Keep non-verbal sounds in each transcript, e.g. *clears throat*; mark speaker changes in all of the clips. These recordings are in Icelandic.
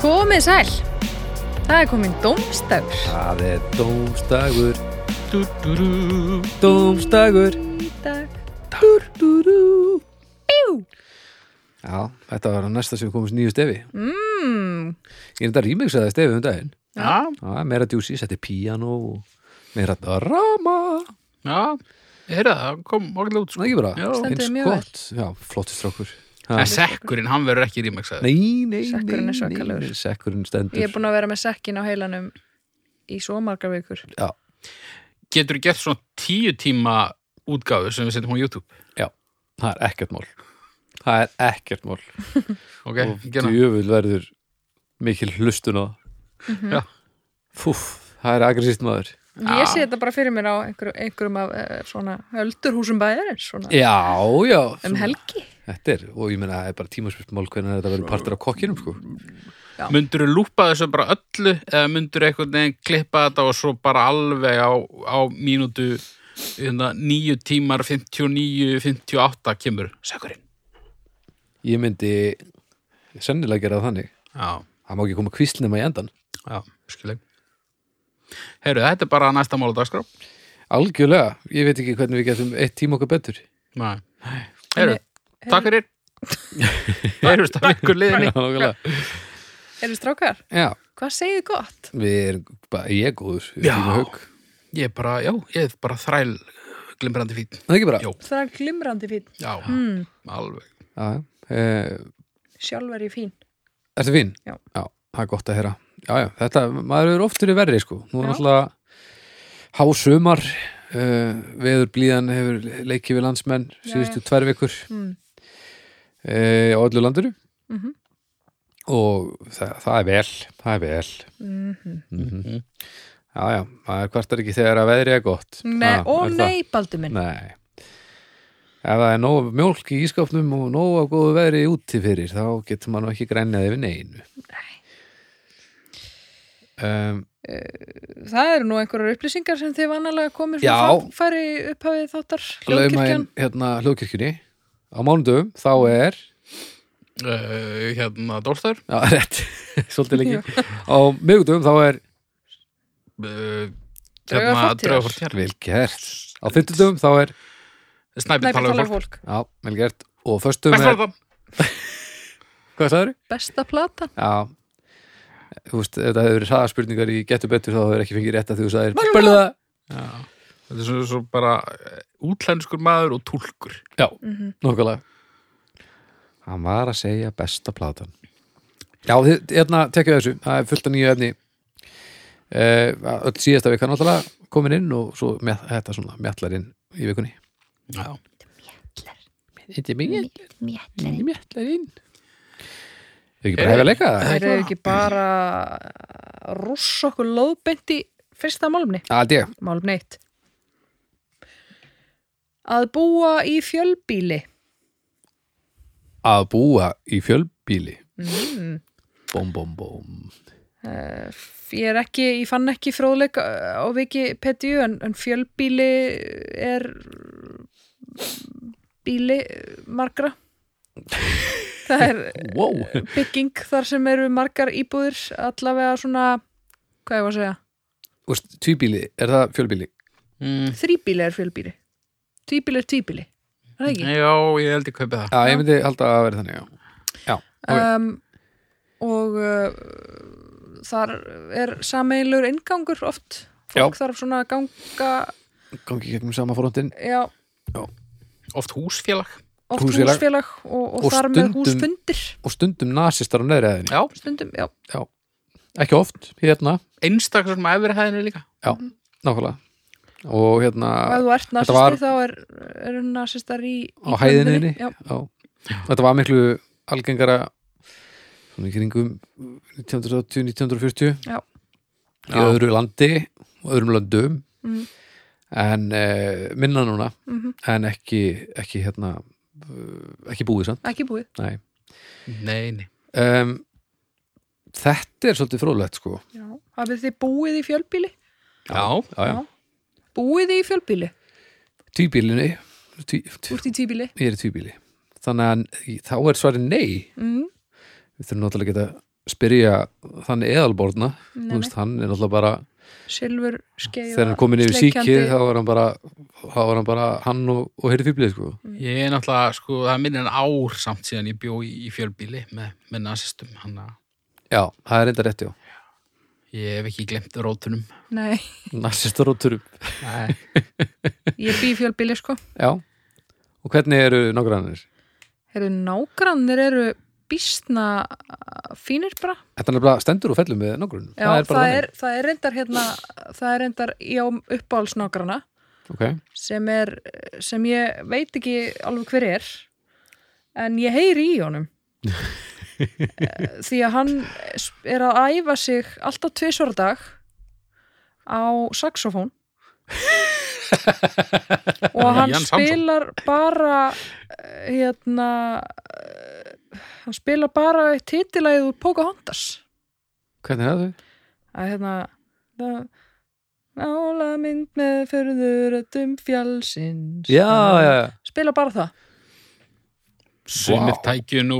Speaker 1: Komið sæl, það er komin dómstafur.
Speaker 2: Það er dómstagur Dómstagur
Speaker 1: Í dag.
Speaker 2: Já, þetta var að næsta sem komist nýju stefi
Speaker 1: Mm,
Speaker 2: Ég er þetta remixaði stefi um daginn
Speaker 3: Já,
Speaker 2: Já, meira djúsi, setti píano og meira drama
Speaker 3: já, ég heyrði það, það kom okkur
Speaker 2: Það
Speaker 3: út sko.
Speaker 2: er ekki bara,
Speaker 3: Já.
Speaker 1: Stendur
Speaker 2: eins
Speaker 1: þig mjög
Speaker 2: gott Já, flottist strókur Ha.
Speaker 3: En sekkurinn, hann verður ekki rýmæksaður.
Speaker 2: Nei, nei, nei,
Speaker 1: Sekkurinn er svakalegur.
Speaker 2: nei, nei, Sekkurinn
Speaker 1: ég er
Speaker 2: stendur
Speaker 1: búin að vera með sekkin á heilanum í svo margar vikur.
Speaker 2: Já,
Speaker 3: Getur gert svona tíu tíma útgáfu sem við setjum á YouTube.
Speaker 2: já, það er ekkert mál Það er ekkert mál
Speaker 3: Ok,
Speaker 2: og
Speaker 3: gera það.
Speaker 2: djöfull verður mikil hlustun á
Speaker 3: Já.
Speaker 2: Fúf, það er agressíft maður
Speaker 1: Ég sé þetta bara fyrir mér á einhver, einhverjum af eh, svona öldurhúsum bæjarins, svona
Speaker 2: Já, já
Speaker 1: um helgi.
Speaker 2: Þetta er, og ég meina, það er bara tímaspyrsmál hvernig þetta verður partur af kokkinum, sko
Speaker 3: Mundurðu lúpa þessu bara öllu eða mundurðu einhvern veginn klippa þetta og svo bara alveg á, á mínútu hérna, 9 tímar 59, 58 kemur sekkurinn.
Speaker 2: Ég myndi sennilega gera það þannig
Speaker 3: Já,
Speaker 2: Það má ekki koma kvíslnum í endan
Speaker 3: já, skiljum. Heyrðu, þetta er bara næsta mál og dagskrá.
Speaker 2: Algjörlega, ég veit ekki hvernig við getum eitt tíma okkur
Speaker 3: *laughs*
Speaker 2: betur
Speaker 3: Nei. Heyrðu, takk fyrir. *laughs* Heyrðu, takk fyrir liðinni.
Speaker 2: Já, nákvæmlega.
Speaker 1: Eru strákar,
Speaker 2: já
Speaker 1: hvað segið þið gott?
Speaker 2: við erum bara, ég er góður við
Speaker 3: Já.
Speaker 2: erum í hug.
Speaker 3: Ég er bara, já, ég er bara þræl glimrandi fín.
Speaker 2: Það er ekki bara
Speaker 3: Jó.
Speaker 1: Það er glimrandi fín.
Speaker 3: Já,
Speaker 1: Hmm.
Speaker 3: alveg.
Speaker 2: Já, Eh, já.
Speaker 1: Sjálf er ég fín.
Speaker 2: Ertu fín?
Speaker 1: Já.
Speaker 2: það er gott að heyra. Já, já, þetta, maður eru oftur í verri, sko. Nú er
Speaker 1: Já.
Speaker 2: náttúrulega hásumar, uh, veður blíðan hefur leikið við landsmenn
Speaker 1: Já,
Speaker 2: síðustu tvær vikur
Speaker 1: Mm.
Speaker 2: uh, á öllu landinu
Speaker 1: Mhm.
Speaker 2: og það, það er vel, það er vel.
Speaker 1: Mm
Speaker 2: Mm Já, já, maður kvartar ekki þegar að veðri er gott.
Speaker 1: Nei,
Speaker 2: Ha,
Speaker 1: ó
Speaker 2: Ah, er það?
Speaker 1: nei, baldur minn.
Speaker 2: Nei. Ef það er nóg af mjólk í ískapnum og nóg af góðu veðri úti fyrir, þá getur maður nú ekki grænjað yfir neinu. Um,
Speaker 1: Það eru nú einhverjar upplýsingar sem þið vanalega komið
Speaker 2: Já.
Speaker 1: svona fá- færi upphafið þáttar hljóðkirkjan.
Speaker 2: hljóðkirkjan hérna, hljóðkirkjunni á mánudum þá er
Speaker 3: Uh, hérna, Dólstar,
Speaker 2: já, *laughs* rétt, svolítið lengi á miðugdum þá er
Speaker 3: uh,
Speaker 1: Draugar
Speaker 3: hérna,
Speaker 1: fortíðar.
Speaker 3: Draugafortjar,
Speaker 2: vel gert á fymtudum þá er
Speaker 3: Snæpi
Speaker 1: Nei,
Speaker 3: talaðu
Speaker 1: talar fólk.
Speaker 3: fólk.
Speaker 2: já, vel gert og föstum
Speaker 3: Best var
Speaker 2: er,
Speaker 3: það.
Speaker 2: hvað sagður?
Speaker 1: Besta platan.
Speaker 2: Já þú veist, ef það hefur verið hraðaspurningar í getur betur þá hefur ekki fengið rétt að þú sagðir Bölva!
Speaker 3: Já. Þetta er svo, svo bara eh, útlenskur maður og túlkur.
Speaker 2: Já, nokkulega Hann var að segja besta platan Já, þið, hérna tekja þessu það er fullt af nýju efni Eh, öll síðasta vika náttúrulega komin inn og svo með, þetta svona mjallar inn í vikunni
Speaker 3: Já.
Speaker 2: Þetta er mjallar
Speaker 1: Mjallarinn.
Speaker 2: mjallar inn Þau ekki bara hefja að leika það?
Speaker 1: Það eru ekki bara að rússa okkur loðbeint í fyrsta málumni.
Speaker 2: Aldi,
Speaker 1: Málumni eitt. Að búa í fjölbíli.
Speaker 2: að búa í fjölbíli Mhm.
Speaker 1: Mm.
Speaker 2: Bóm, bóm, bóm
Speaker 1: Ég er ekki, ég fann ekki fróðleik uh, á Wikipedia en, en fjölbíli er bíli uh, margra. Það er
Speaker 2: Wow,
Speaker 1: bygging þar sem eru margar íbúðir allavega svona, hvað ég var að segja?
Speaker 2: úrst, tvíbíli, er það fjölbíli?
Speaker 3: Mm.
Speaker 1: Þrýbíli er fjölbíli. Tvíbíli er tvíbíli. Er Það ekki?
Speaker 3: Já, ég held ég kaupið það.
Speaker 2: Já, Eh, ég myndi halda að vera þannig, já ok.
Speaker 1: um, og uh, þar er sameiginlegur inngangur oft fólk þarf svona að ganga
Speaker 2: Gangi gegnum sama fróndin
Speaker 1: já,
Speaker 3: Oft húsfélag.
Speaker 1: oft
Speaker 2: Húsfélag.
Speaker 1: húsfélag, og, og,
Speaker 2: Og
Speaker 1: þar
Speaker 2: stundum-
Speaker 1: með húsfundir
Speaker 2: og stundum nasistar á neðri hæðinni
Speaker 3: Já.
Speaker 1: stundum, já,
Speaker 2: ekki oft, hérna,
Speaker 3: Einstakar sem efri hæðinu líka.
Speaker 1: Mhm.
Speaker 2: nákvæmlega og hérna
Speaker 1: ef þú ert nasisti
Speaker 2: var-
Speaker 1: þá er, er nasistar í, í
Speaker 2: á hæðinni
Speaker 1: blöndunni, já,
Speaker 2: já. þetta var miklu algengara svona í kringum 1980-1940
Speaker 1: Já.
Speaker 2: í öðru landi og öðrum löndum
Speaker 1: Mhm.
Speaker 2: en uh, minna núna
Speaker 1: mhm,
Speaker 2: en ekki, ekki hérna eh, ekki búið samt
Speaker 1: ekki búið
Speaker 2: Nei.
Speaker 3: Nei, nei.
Speaker 2: um, þetta er svolítið fróðlegt sko
Speaker 1: já. hafið þið búið í fjölbíli
Speaker 3: Já.
Speaker 2: já, já.
Speaker 1: Já. búið í fjölbíli,
Speaker 2: tvíbílinni tví, tví,
Speaker 1: úrt í tvíbíli
Speaker 2: ég er í tvíbíli þannig að þá er svarið nei
Speaker 1: mm.
Speaker 2: við þurfum náttúrulega að geta spyrja þannig eðalborna Þú
Speaker 1: Nei, nei.
Speaker 2: veist, hann er náttúrulega bara
Speaker 1: silfur skeið
Speaker 2: þegar hann komin yfir síkið þá var hann bara, þá var hann, bara hann og, og heyrði fýblið sko.
Speaker 1: Mm.
Speaker 3: Ég er náttúrulega, sko, það er minna en ár samt síðan ég bjó í, í fjölbíli með, með nasistum, hann að
Speaker 2: já, það er enda rétt já
Speaker 3: ég hef ekki glemt rótunum.
Speaker 1: Nei,
Speaker 2: narsistar og turum
Speaker 3: Nei.
Speaker 1: ég bý í fjölbíli sko
Speaker 2: já. og hvernig eru nágrannir?
Speaker 1: Eru nágrannir eru býstna fínir bara
Speaker 2: Þetta er nefnilega stendur og fellur með nágrunum
Speaker 1: Já, það, er það, er, reyndar hérna það er reyndar í á uppáhaldsnágranna
Speaker 2: okay.
Speaker 1: sem er sem ég veit ekki alveg hver er en ég heyri í honum Eh, því að hann er að æfa sig alltaf tvisvar á dag á saxofón og hann
Speaker 3: Jan Samson.
Speaker 1: spilar bara eh, hérna eh, hann spilar bara eitt titilæð úr Pocahontas
Speaker 2: Hvernig er það?
Speaker 1: að hérna það- nála mynd með förður öllum fjálsins
Speaker 2: Já, já, já
Speaker 1: spila bara það
Speaker 3: Sumir
Speaker 2: Vá.
Speaker 3: tækju nú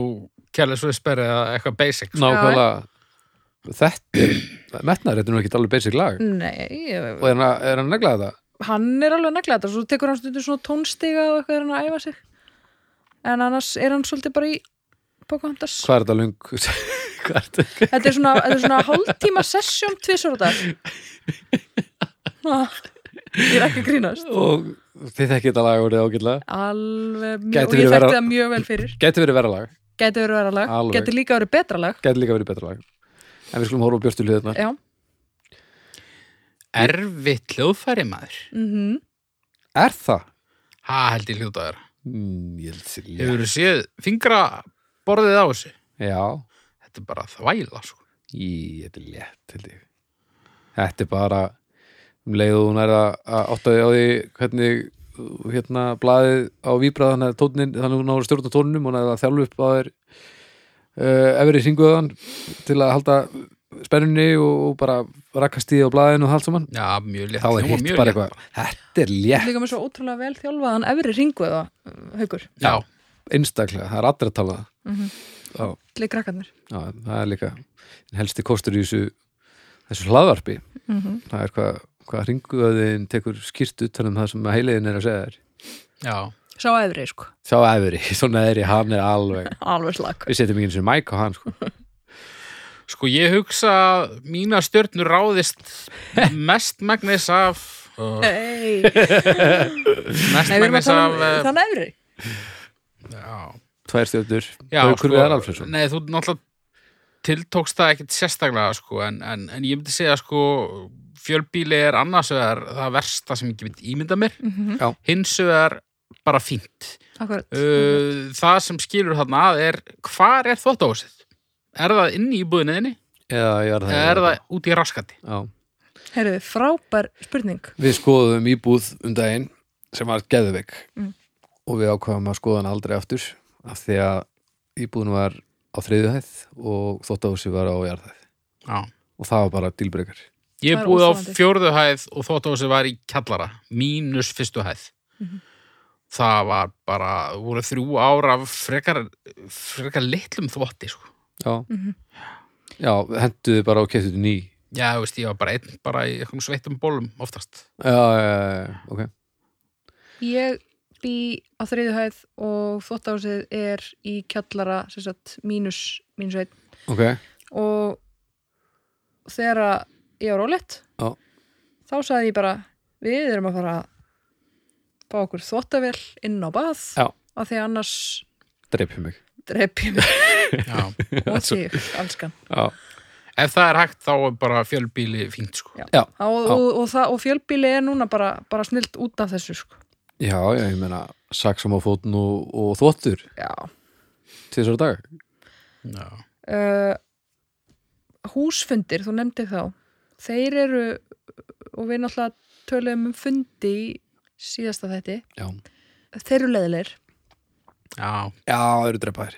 Speaker 3: kjærleisvisper eða eitthvað basic. sko.
Speaker 2: Nákvæmlega Þetta *clears throat* er metnar, þetta er nú ekki alveg basic
Speaker 1: Mm.
Speaker 2: lag
Speaker 1: Nei, ég-
Speaker 2: og er hann, að- er hann að negla þetta?
Speaker 1: hann er alveg að negla þetta svo tekur hann stundum svona tónstiga og eitthvað er hann að æfa sig en annars er hann svolítið bara í Pocahontas
Speaker 2: Hvað er þetta lung? *laughs* Hvað er þetta?
Speaker 1: þetta er svona, þetta er svona hálftíma sessjón tvisur á dag Ah, ég er ekki að grínast
Speaker 2: Og þið þekkið þetta lag og þetta ágætlega
Speaker 1: alveg
Speaker 2: Gæti verið
Speaker 1: mjög, og ég þekkti
Speaker 2: vera-
Speaker 1: það mjög vel fyrir
Speaker 2: Gæti verið verra lag,
Speaker 1: gæti verið vera lag,
Speaker 2: Alveg.
Speaker 1: gæti líka verið betra lag
Speaker 2: gæti líka verið betra lag En við skulum horfa á björstu hliðina
Speaker 1: já,
Speaker 3: Erfitt hljóðfæri maður.
Speaker 1: mhm
Speaker 2: Er það?
Speaker 3: Ha, held ég hljóta þeirra.
Speaker 2: Mm, ég held sér
Speaker 3: Hefur þú séð fingraborðið á þessu?
Speaker 2: Já,
Speaker 3: Þetta er bara þvæla, sko.
Speaker 2: í, þetta er létt held ég Þetta er bara um leið og hún er að að átta þig á því hvernig uh, hérna blaðið á víbrað þannig að tónin, þannig að hún á að stjórna tóninum hún er að þjálfa upp á þér uh, efri synguðan til að halda spennunni og, og bara rakast í á blaðinu og allt saman
Speaker 3: Já, mjög létt.
Speaker 2: þá er
Speaker 3: hljóma
Speaker 2: hitt
Speaker 3: mjög
Speaker 2: bara
Speaker 3: létt.
Speaker 2: eitthvað þetta er létt,
Speaker 1: líka með svo ótrúlega vel þjálfaðan efri ringuða haukur,
Speaker 3: Já,
Speaker 2: einstaklega, það er allir að tala um það já,
Speaker 1: allir krakkarnir
Speaker 2: já, það er líka helsti kostur í þessu þessu hlaðvarpi
Speaker 3: Mhm.
Speaker 2: það er hvað hvað ringuðin tekur skýrt utan um það sem heiliðin er að segja þér
Speaker 3: já.
Speaker 1: sá efri sko,
Speaker 2: þá efri, *laughs* svona efri, hann er alveg
Speaker 1: alveg slag
Speaker 2: við setjum ekki eins og mæk á hann sko.
Speaker 3: Sko ég hugsa að mína stjörnur ráðist *laughs* mest magnis af uh,
Speaker 1: hey.
Speaker 3: mest
Speaker 1: Nei, við erum að
Speaker 3: magnis
Speaker 1: tala
Speaker 3: af
Speaker 1: um
Speaker 3: uh,
Speaker 1: þann efri
Speaker 3: já,
Speaker 2: tvær stjórnur,
Speaker 3: já, sko,
Speaker 2: haukur við Alfredsson
Speaker 3: Nei, þú náttúrulega tiltókst það ekkit sérstaklega sko, en, en, en ég myndi segja sko fjölbíli er annars vegar það versta sem ég get ímynda mér
Speaker 1: Mhm.
Speaker 2: Já.
Speaker 3: hins vegar bara fínt
Speaker 1: Akkurat.
Speaker 3: uh, það sem skilur þarna að er hvar er þvóttahúsið? Er það inni í búðinniðinni?
Speaker 2: eða ég er það,
Speaker 3: Eða er um það út í raskati?
Speaker 2: Já.
Speaker 1: Heyrðu, frábær spurning
Speaker 2: við skoðum íbúð um daginn sem var geðveik
Speaker 1: Mm.
Speaker 2: og við ákvaðum að skoða hann aldrei aftur af því að íbúðin var á þriðuhæð og þóttahúsi var á jarðhæð
Speaker 3: Já
Speaker 2: og það var bara dílbreykar
Speaker 3: Ég
Speaker 1: Það
Speaker 3: hef
Speaker 1: er
Speaker 3: búið á
Speaker 1: óþolandi.
Speaker 3: fjórðu hæð og þóttósi var í kjallara, mínus fyrstu hæð.
Speaker 1: Mhm.
Speaker 3: Það var bara, voru þrjú ára af frekar, frekar litlum þvotti, sko.
Speaker 2: já, já henduðu bara og keftuðu ný
Speaker 3: Já, þú veist, ég var bara einn, bara í eitthvað sveittum bólum oftast.
Speaker 2: já, já, já, já, ok
Speaker 1: ég bý á þriðu hæð og þvóttásið er í kjallara sem sagt, mínus, mínus einn
Speaker 2: ok,
Speaker 1: og þegar að ég var ólegt
Speaker 2: Já.
Speaker 1: þá sagði ég bara við erum að fara að fá okkur þvóttavél inn á bað
Speaker 2: Já.
Speaker 1: af því að annars
Speaker 2: dreipið mig
Speaker 1: drepp ég mig
Speaker 3: Já.
Speaker 1: *laughs* og þig, allskan
Speaker 2: já,
Speaker 3: Ef það er hægt, þá er bara fjölbíli fínt, sko.
Speaker 1: Já.
Speaker 2: já,
Speaker 1: og, og, og, það, og fjölbíli er núna bara, bara snilt út af þessu sko.
Speaker 2: já, já ég meina saksam á fótn og, og þvottur
Speaker 1: já
Speaker 2: til þessar dag
Speaker 3: Já.
Speaker 1: uh, húsfundir, þú nefndir þá þeir eru og við náttúrulega töluðum um fundi í síðasta þætti
Speaker 2: já,
Speaker 1: þeir eru leðilegir
Speaker 3: Já.
Speaker 2: já, það eru dreipaðir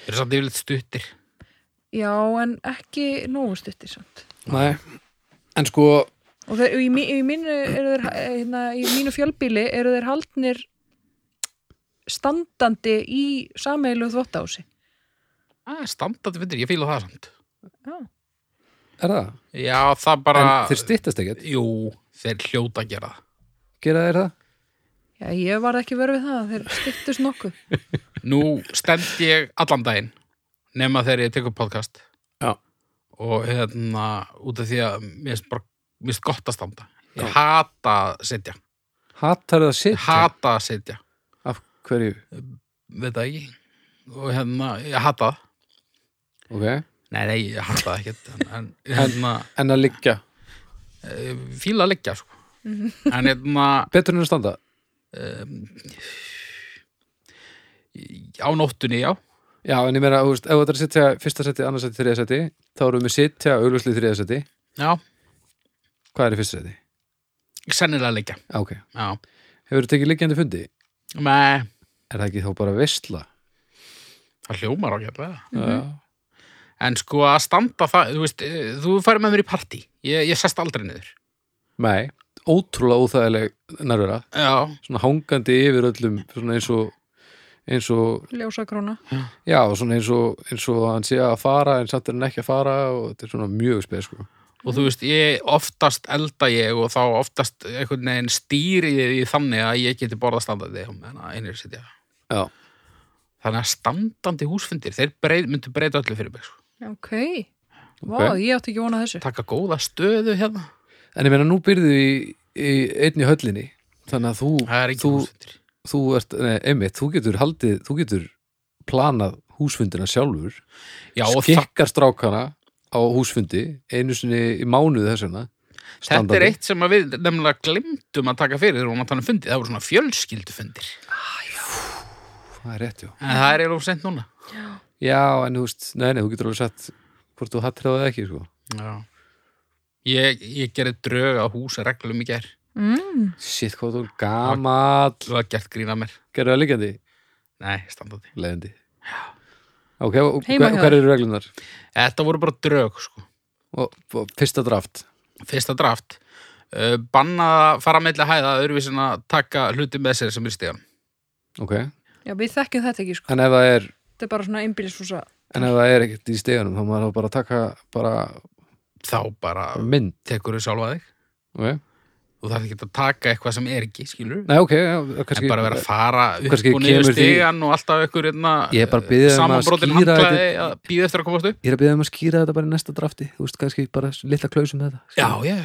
Speaker 3: Þeir eru samt yfirleitt stuttir.
Speaker 1: já, en ekki nógu stuttir samt.
Speaker 2: nei, en sko
Speaker 1: og þeir, í, mí- í, mínu, eru þeir, hérna, í mínu fjölbíli eru þeir haldnir standandi í sameilu þvottási
Speaker 3: Það er standandi fyrir, ég fíla það samt.
Speaker 1: já,
Speaker 2: er það?
Speaker 3: Já, það bara...
Speaker 2: en þeir styttast ekkert,
Speaker 3: Jú, þeir hljóta að gera það.
Speaker 2: gera þeir það?
Speaker 1: já, ég var ekki verið við það þeir styttust nokkuð
Speaker 3: Nú stend ég allan daginn nema þegar ég tek upp podcast
Speaker 2: Já.
Speaker 3: og hérna út af því að mér finnst bara mér finnst gott að standa. Ég hata að sitja.
Speaker 2: Hattar það sitt?
Speaker 3: Hata að sitja.
Speaker 2: Af hverju?
Speaker 3: Veit það ekki. Og hérna, ég hata það.
Speaker 2: Ok,
Speaker 3: Nei, nei, ég hata það ekkert. en- En hérna,
Speaker 2: en að liggja
Speaker 3: ég fíla að liggja, sko. En hérna,
Speaker 2: Betur en að standa?
Speaker 3: á nóttunni, já.
Speaker 2: Já, en ég meira, þú veist, ef þú ætlar að sitja fyrsta seti, annars seti, þriða seti þá erum við sitja, augljósli þriða seti
Speaker 3: Já,
Speaker 2: Hvað er í fyrsta seti?
Speaker 3: sennilega að liggja.
Speaker 2: Já, ok
Speaker 3: Já.
Speaker 2: Hefur þú tekið liggjandi fundi?
Speaker 3: Nei,
Speaker 2: Er það ekki þá bara veistla?
Speaker 3: það hljómar ágætlega.
Speaker 2: Mm
Speaker 3: En sko að standa það, þú veist, eh, þú farið með mér í partí. Ég, ég sest aldrei niður.
Speaker 2: Nei, ótrúlega óþægileg nærvera
Speaker 3: Já,
Speaker 2: Svona hangandi yfir öllum Svona eins og eins og,
Speaker 1: ljósa króna
Speaker 2: já, svona eins og eins og hann sé að fara en samt er hann ekki að fara og þetta er svona mjög spes sko.
Speaker 3: og þú veist, ég oftast elda ég og þá oftast einhvern veginn stýri ég því þannig að ég geti borða standandi á meðan að einir sitja.
Speaker 2: Já,
Speaker 3: Þannig að standandi húsfundir, þeir breyt, myndu breyta öllu fyrir mig. sko.
Speaker 1: ok, vá, ég átti ekki vona þessu
Speaker 3: Taka góða stöðu hérna.
Speaker 2: en ég meina nú byrðu í, í einni höllinni þannig að þú,
Speaker 3: Það er ekki
Speaker 2: þú,
Speaker 3: húsfundir.
Speaker 2: þú ert, nei, einmitt, þú getur haldið, þú getur planað húsfundina sjálfur,
Speaker 3: Já, og það,
Speaker 2: skikkar strákana á húsfundi, einu sinni í mánuði þess vegna,
Speaker 3: þetta er
Speaker 2: standandi.
Speaker 3: eitt sem að við nefnilega glemtum að taka fyrir þegar hún að tala um fundi. Það voru svona fjölskyldufundir.
Speaker 2: Það er rétt, já.
Speaker 3: En það er eiginlega of seint núna.
Speaker 2: Já, en þú veist, nei, nei, þú getur alveg sagt hvort þú hattir það eða ekki, sko.
Speaker 3: Já. Ég, ég gerði drög á húsareglum í gær.
Speaker 1: mm,
Speaker 2: Sitt hvað þú er gamall,
Speaker 3: Þú hafði gert grína mér.
Speaker 2: gerðu það líkandi,
Speaker 3: Nei, standandi.
Speaker 2: leiðandi. Ok, og hver,
Speaker 1: Heima hjá
Speaker 2: hver eru reglunar?
Speaker 3: Þetta voru bara drög, sko.
Speaker 2: Og, og fyrsta draft.
Speaker 3: Fyrsta draft. Uh, bannað að fara meðlega hæða öðruvísin að taka hluti með sér sem er stíðan.
Speaker 2: Ok, en
Speaker 1: já, við þekkjum þetta ekki sko
Speaker 2: ef það er,
Speaker 1: þetta er bara svona einbýlishúsa
Speaker 2: en ef það er ekkert í stegunum, þá maður á bara að taka bara
Speaker 3: Þá bara
Speaker 2: mynd,
Speaker 3: tekur þú sjálfa þig.
Speaker 2: ok?
Speaker 3: Þú þarf ekki að taka eitthvað sem er ekki, skilur.
Speaker 2: Nei, ok, já, kannski
Speaker 3: en bara vera að fara upp
Speaker 2: kannski
Speaker 3: og niður
Speaker 2: kemur því-
Speaker 3: stíðan og alltaf ykkur einna,
Speaker 2: Ég er bara að biðja um að
Speaker 3: samanbrotin
Speaker 2: skýra
Speaker 3: handlaði að býða eftir að komast upp.
Speaker 2: Ég er að byrja um að skýra þetta bara í næsta drafti Þú veist, kannski bara litla klausum þetta
Speaker 3: Já, já.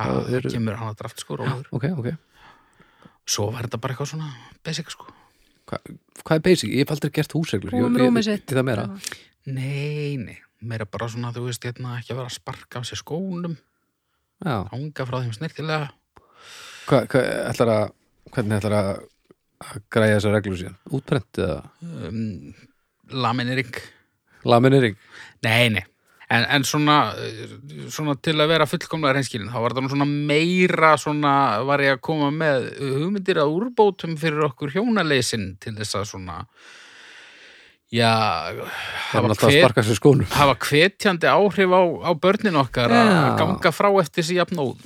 Speaker 3: Það
Speaker 2: Já, eru-
Speaker 3: kemur hann að draft sko róður.
Speaker 2: Ok, ok
Speaker 3: Svo var þetta bara eitthvað svona basic sko.
Speaker 2: Hva, Hvað er basic? Ég hef aldrei gert húsreglur
Speaker 1: Búum
Speaker 2: Ég-
Speaker 1: rúmið
Speaker 2: ég-
Speaker 1: sitt.
Speaker 2: Í það meira
Speaker 3: Nei, nei, meira bara svona, þú veist, hérna, ekki að vera að sparka á sér skónum,
Speaker 2: Já
Speaker 3: hanga frá þeim snertilega.
Speaker 2: hva, hva, ætlar að, Hvernig ætlar að, að græja þessar reglur síðan? Útprent eða
Speaker 3: Um, laminering.
Speaker 2: laminering?
Speaker 3: Nei, nei. En, en svona, uh, svona til að vera fullkomlega reynskilin, þá var þetta nú svona meira svona, var ég að koma með hugmyndir að úrbótum fyrir okkur hjónaleysin til þess að svona, já,
Speaker 2: Það er
Speaker 3: hafa
Speaker 2: alltaf að sparka sér skónum
Speaker 3: hafa hvetjandi áhrif á, á börnin okkar að
Speaker 2: Já.
Speaker 3: ganga frá eftir sér jafnóð.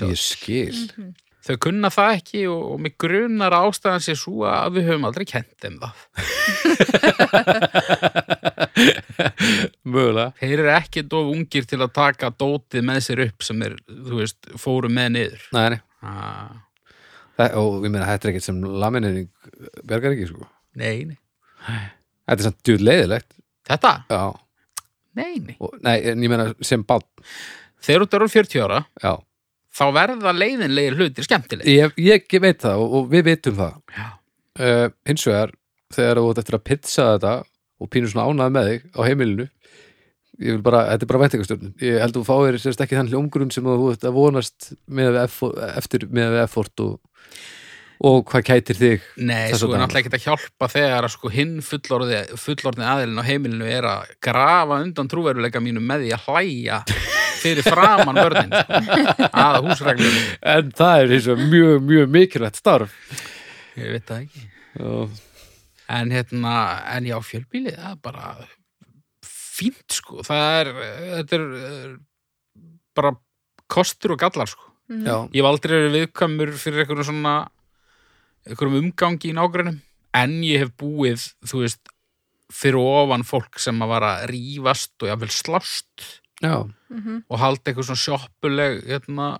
Speaker 2: Ég skil
Speaker 1: Mhm.
Speaker 3: þau kunna það ekki og, og mig grunar að ástæðan sé svo að við höfum aldrei kent þeim það.
Speaker 2: Mögulega
Speaker 3: Þeir eru ekki dof ungir til að taka dótið með sér upp sem er, þú veist, fóru með niður.
Speaker 2: Nei, nei
Speaker 3: Ah,
Speaker 2: Það, og ég meina, þetta er ekkert sem laminering bergar ekki, sko.
Speaker 3: nei, nei.
Speaker 2: Þetta er samt djúð leiðilegt.
Speaker 3: Þetta?
Speaker 2: Já.
Speaker 3: Nei, nei.
Speaker 2: Og, nei, en ég meina, sem bann.
Speaker 3: Þegar þú eru 40 ára,
Speaker 2: Já.
Speaker 3: þá verða leiðinlegir hlutir skemmtilegir.
Speaker 2: Ég, ég veit það og, og við vitum það.
Speaker 3: Já.
Speaker 2: uh, hins vegar þegar þú ert eftir að pizza þetta og pínur svona ánað með þig á heimilinu ég vil bara, þetta er bara væntingastjörnum ég held að þú fáir sérst ekki þann hljómgrunn sem þú ert að vonast með við effort, eftir með við effort og, og hvað kætir þig
Speaker 3: Nei,
Speaker 2: Þess
Speaker 3: svo er
Speaker 2: vegna.
Speaker 3: náttúrulega ekki að hjálpa þegar að sko hinn fullorði, fullorðin aðilinn á heimilinu er að grafa undan trúveruleika mínum með því að hlæja fyrir framan börnin *laughs* sko, að húsreglunum.
Speaker 2: en það er hins vegar mjög, mjög mikilvægt starf
Speaker 3: Ég veit það ekki.
Speaker 2: og,
Speaker 3: En hérna, en já, fjölbýlið, það er bara fínt, sko. Það er, þetta er, eh, bara kostur og gallar, sko.
Speaker 2: já,
Speaker 3: Ég hef aldrei verið viðkvæmur fyrir einhverjum svona, einhverjum umgangi í nágrunum, en ég hef búið, þú veist, fyrir ofan fólk sem að var að rífast og jafnvel slást
Speaker 2: já,
Speaker 3: og halda eitthvað svona sjoppuleg hérna,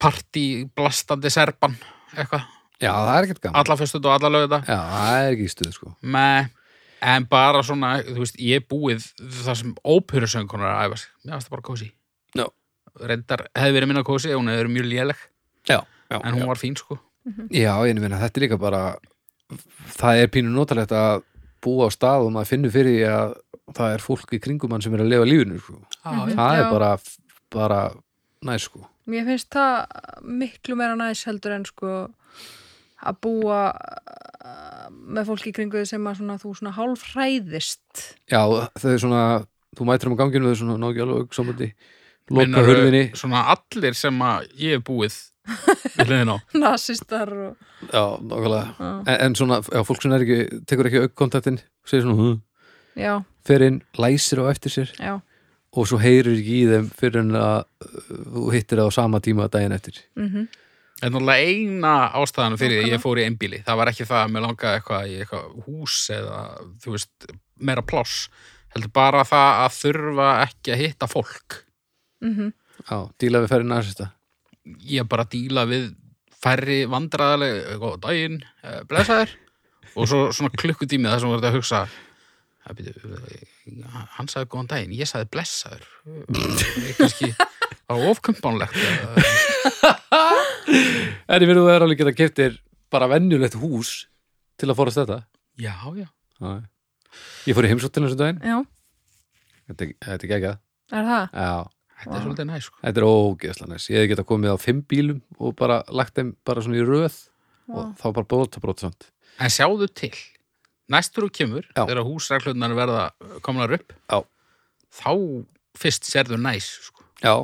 Speaker 3: partí blastandi serban eitthvað,
Speaker 2: já, það er ekkert gaman
Speaker 3: alla fyrstut og alla lögðu þetta
Speaker 2: já, það er ekki í stuð sko
Speaker 3: Nei, en bara svona, þú veist, ég er búið það sem óperusöngunar er að æfa sig. Mér finnst það bara kósi.
Speaker 2: Já.
Speaker 3: Reyndar hefði verið minna kósi, hún hefði verið mjög léleg,
Speaker 2: já, já,
Speaker 3: en hún
Speaker 2: já.
Speaker 3: var fín, sko.
Speaker 2: já ég meina, þetta er líka bara það er pínu notalegt að búa á stað og maður finnur fyrir því að það er fólk í kringum hann sem er að lifa lífinu sko.
Speaker 1: Mhm.
Speaker 2: það
Speaker 1: Já.
Speaker 2: er bara, bara næs sko
Speaker 1: Mér finnst það miklu meira næs heldur en sko að búa uh, með fólki í kringu þig sem að svona, þú svona hálf hræðist
Speaker 2: já, það er svona, þú mætir um ganginu og það er svona nákvæmlega alveg samandi lokar
Speaker 3: Meinar,
Speaker 2: hurðinni
Speaker 3: Svona allir sem að ég er
Speaker 1: *laughs*
Speaker 3: búið við hliðin á.
Speaker 1: nasistar og
Speaker 2: já, nákvæmlega
Speaker 1: Já.
Speaker 2: en, en svona, já, fólk sem er ekki, tekur ekki aukkontaktin segir svona, "Hm",
Speaker 1: já,
Speaker 2: fer inn, læsir á eftir sér
Speaker 1: já,
Speaker 2: og svo heyrir ekki í þeim fyrir en að uh, þú hittir það á sama tíma daginn eftir
Speaker 1: mhm,
Speaker 3: En náttúrulega eina ástæðan fyrir því að ég fór í einbíli. Það var ekki það að mér langaði eitthvað í eitthvað hús eða, þú veist, meira pláss. Heldur bara það að þurfa ekki að hitta fólk.
Speaker 1: mhm
Speaker 2: já, díla við ferinn aðsista
Speaker 3: ég bara díla við færri vandræðaleg góða daginn, eh, blessaður og svo svona klukkutími þar sem voru að hugsa "Það byrju, eh, hann sagði góðan daginn, ég sagði blessaður ég kannski var ofkumpánlegt
Speaker 2: en ég verður þú er alveg geta keftir bara venjulegt hús til að forast þetta
Speaker 3: já, já,
Speaker 2: já. ég fór í heimsóttina þessu daginn
Speaker 1: já,
Speaker 2: þetta er- þetta er ekki ekki
Speaker 1: er það?
Speaker 2: já,
Speaker 3: þetta
Speaker 2: Ah.
Speaker 3: er svolítið næs sko.
Speaker 2: þetta er ógeðslega næs ég hef geta komið á fimm bílum og bara lagt þeim bara svona í röð og þá bara bóta brot samt
Speaker 3: en sjáðu til, næstur þú kemur
Speaker 2: Já.
Speaker 3: þegar húsreglunar verða komnar upp
Speaker 2: Já.
Speaker 3: þá fyrst serðu næs sko.
Speaker 2: já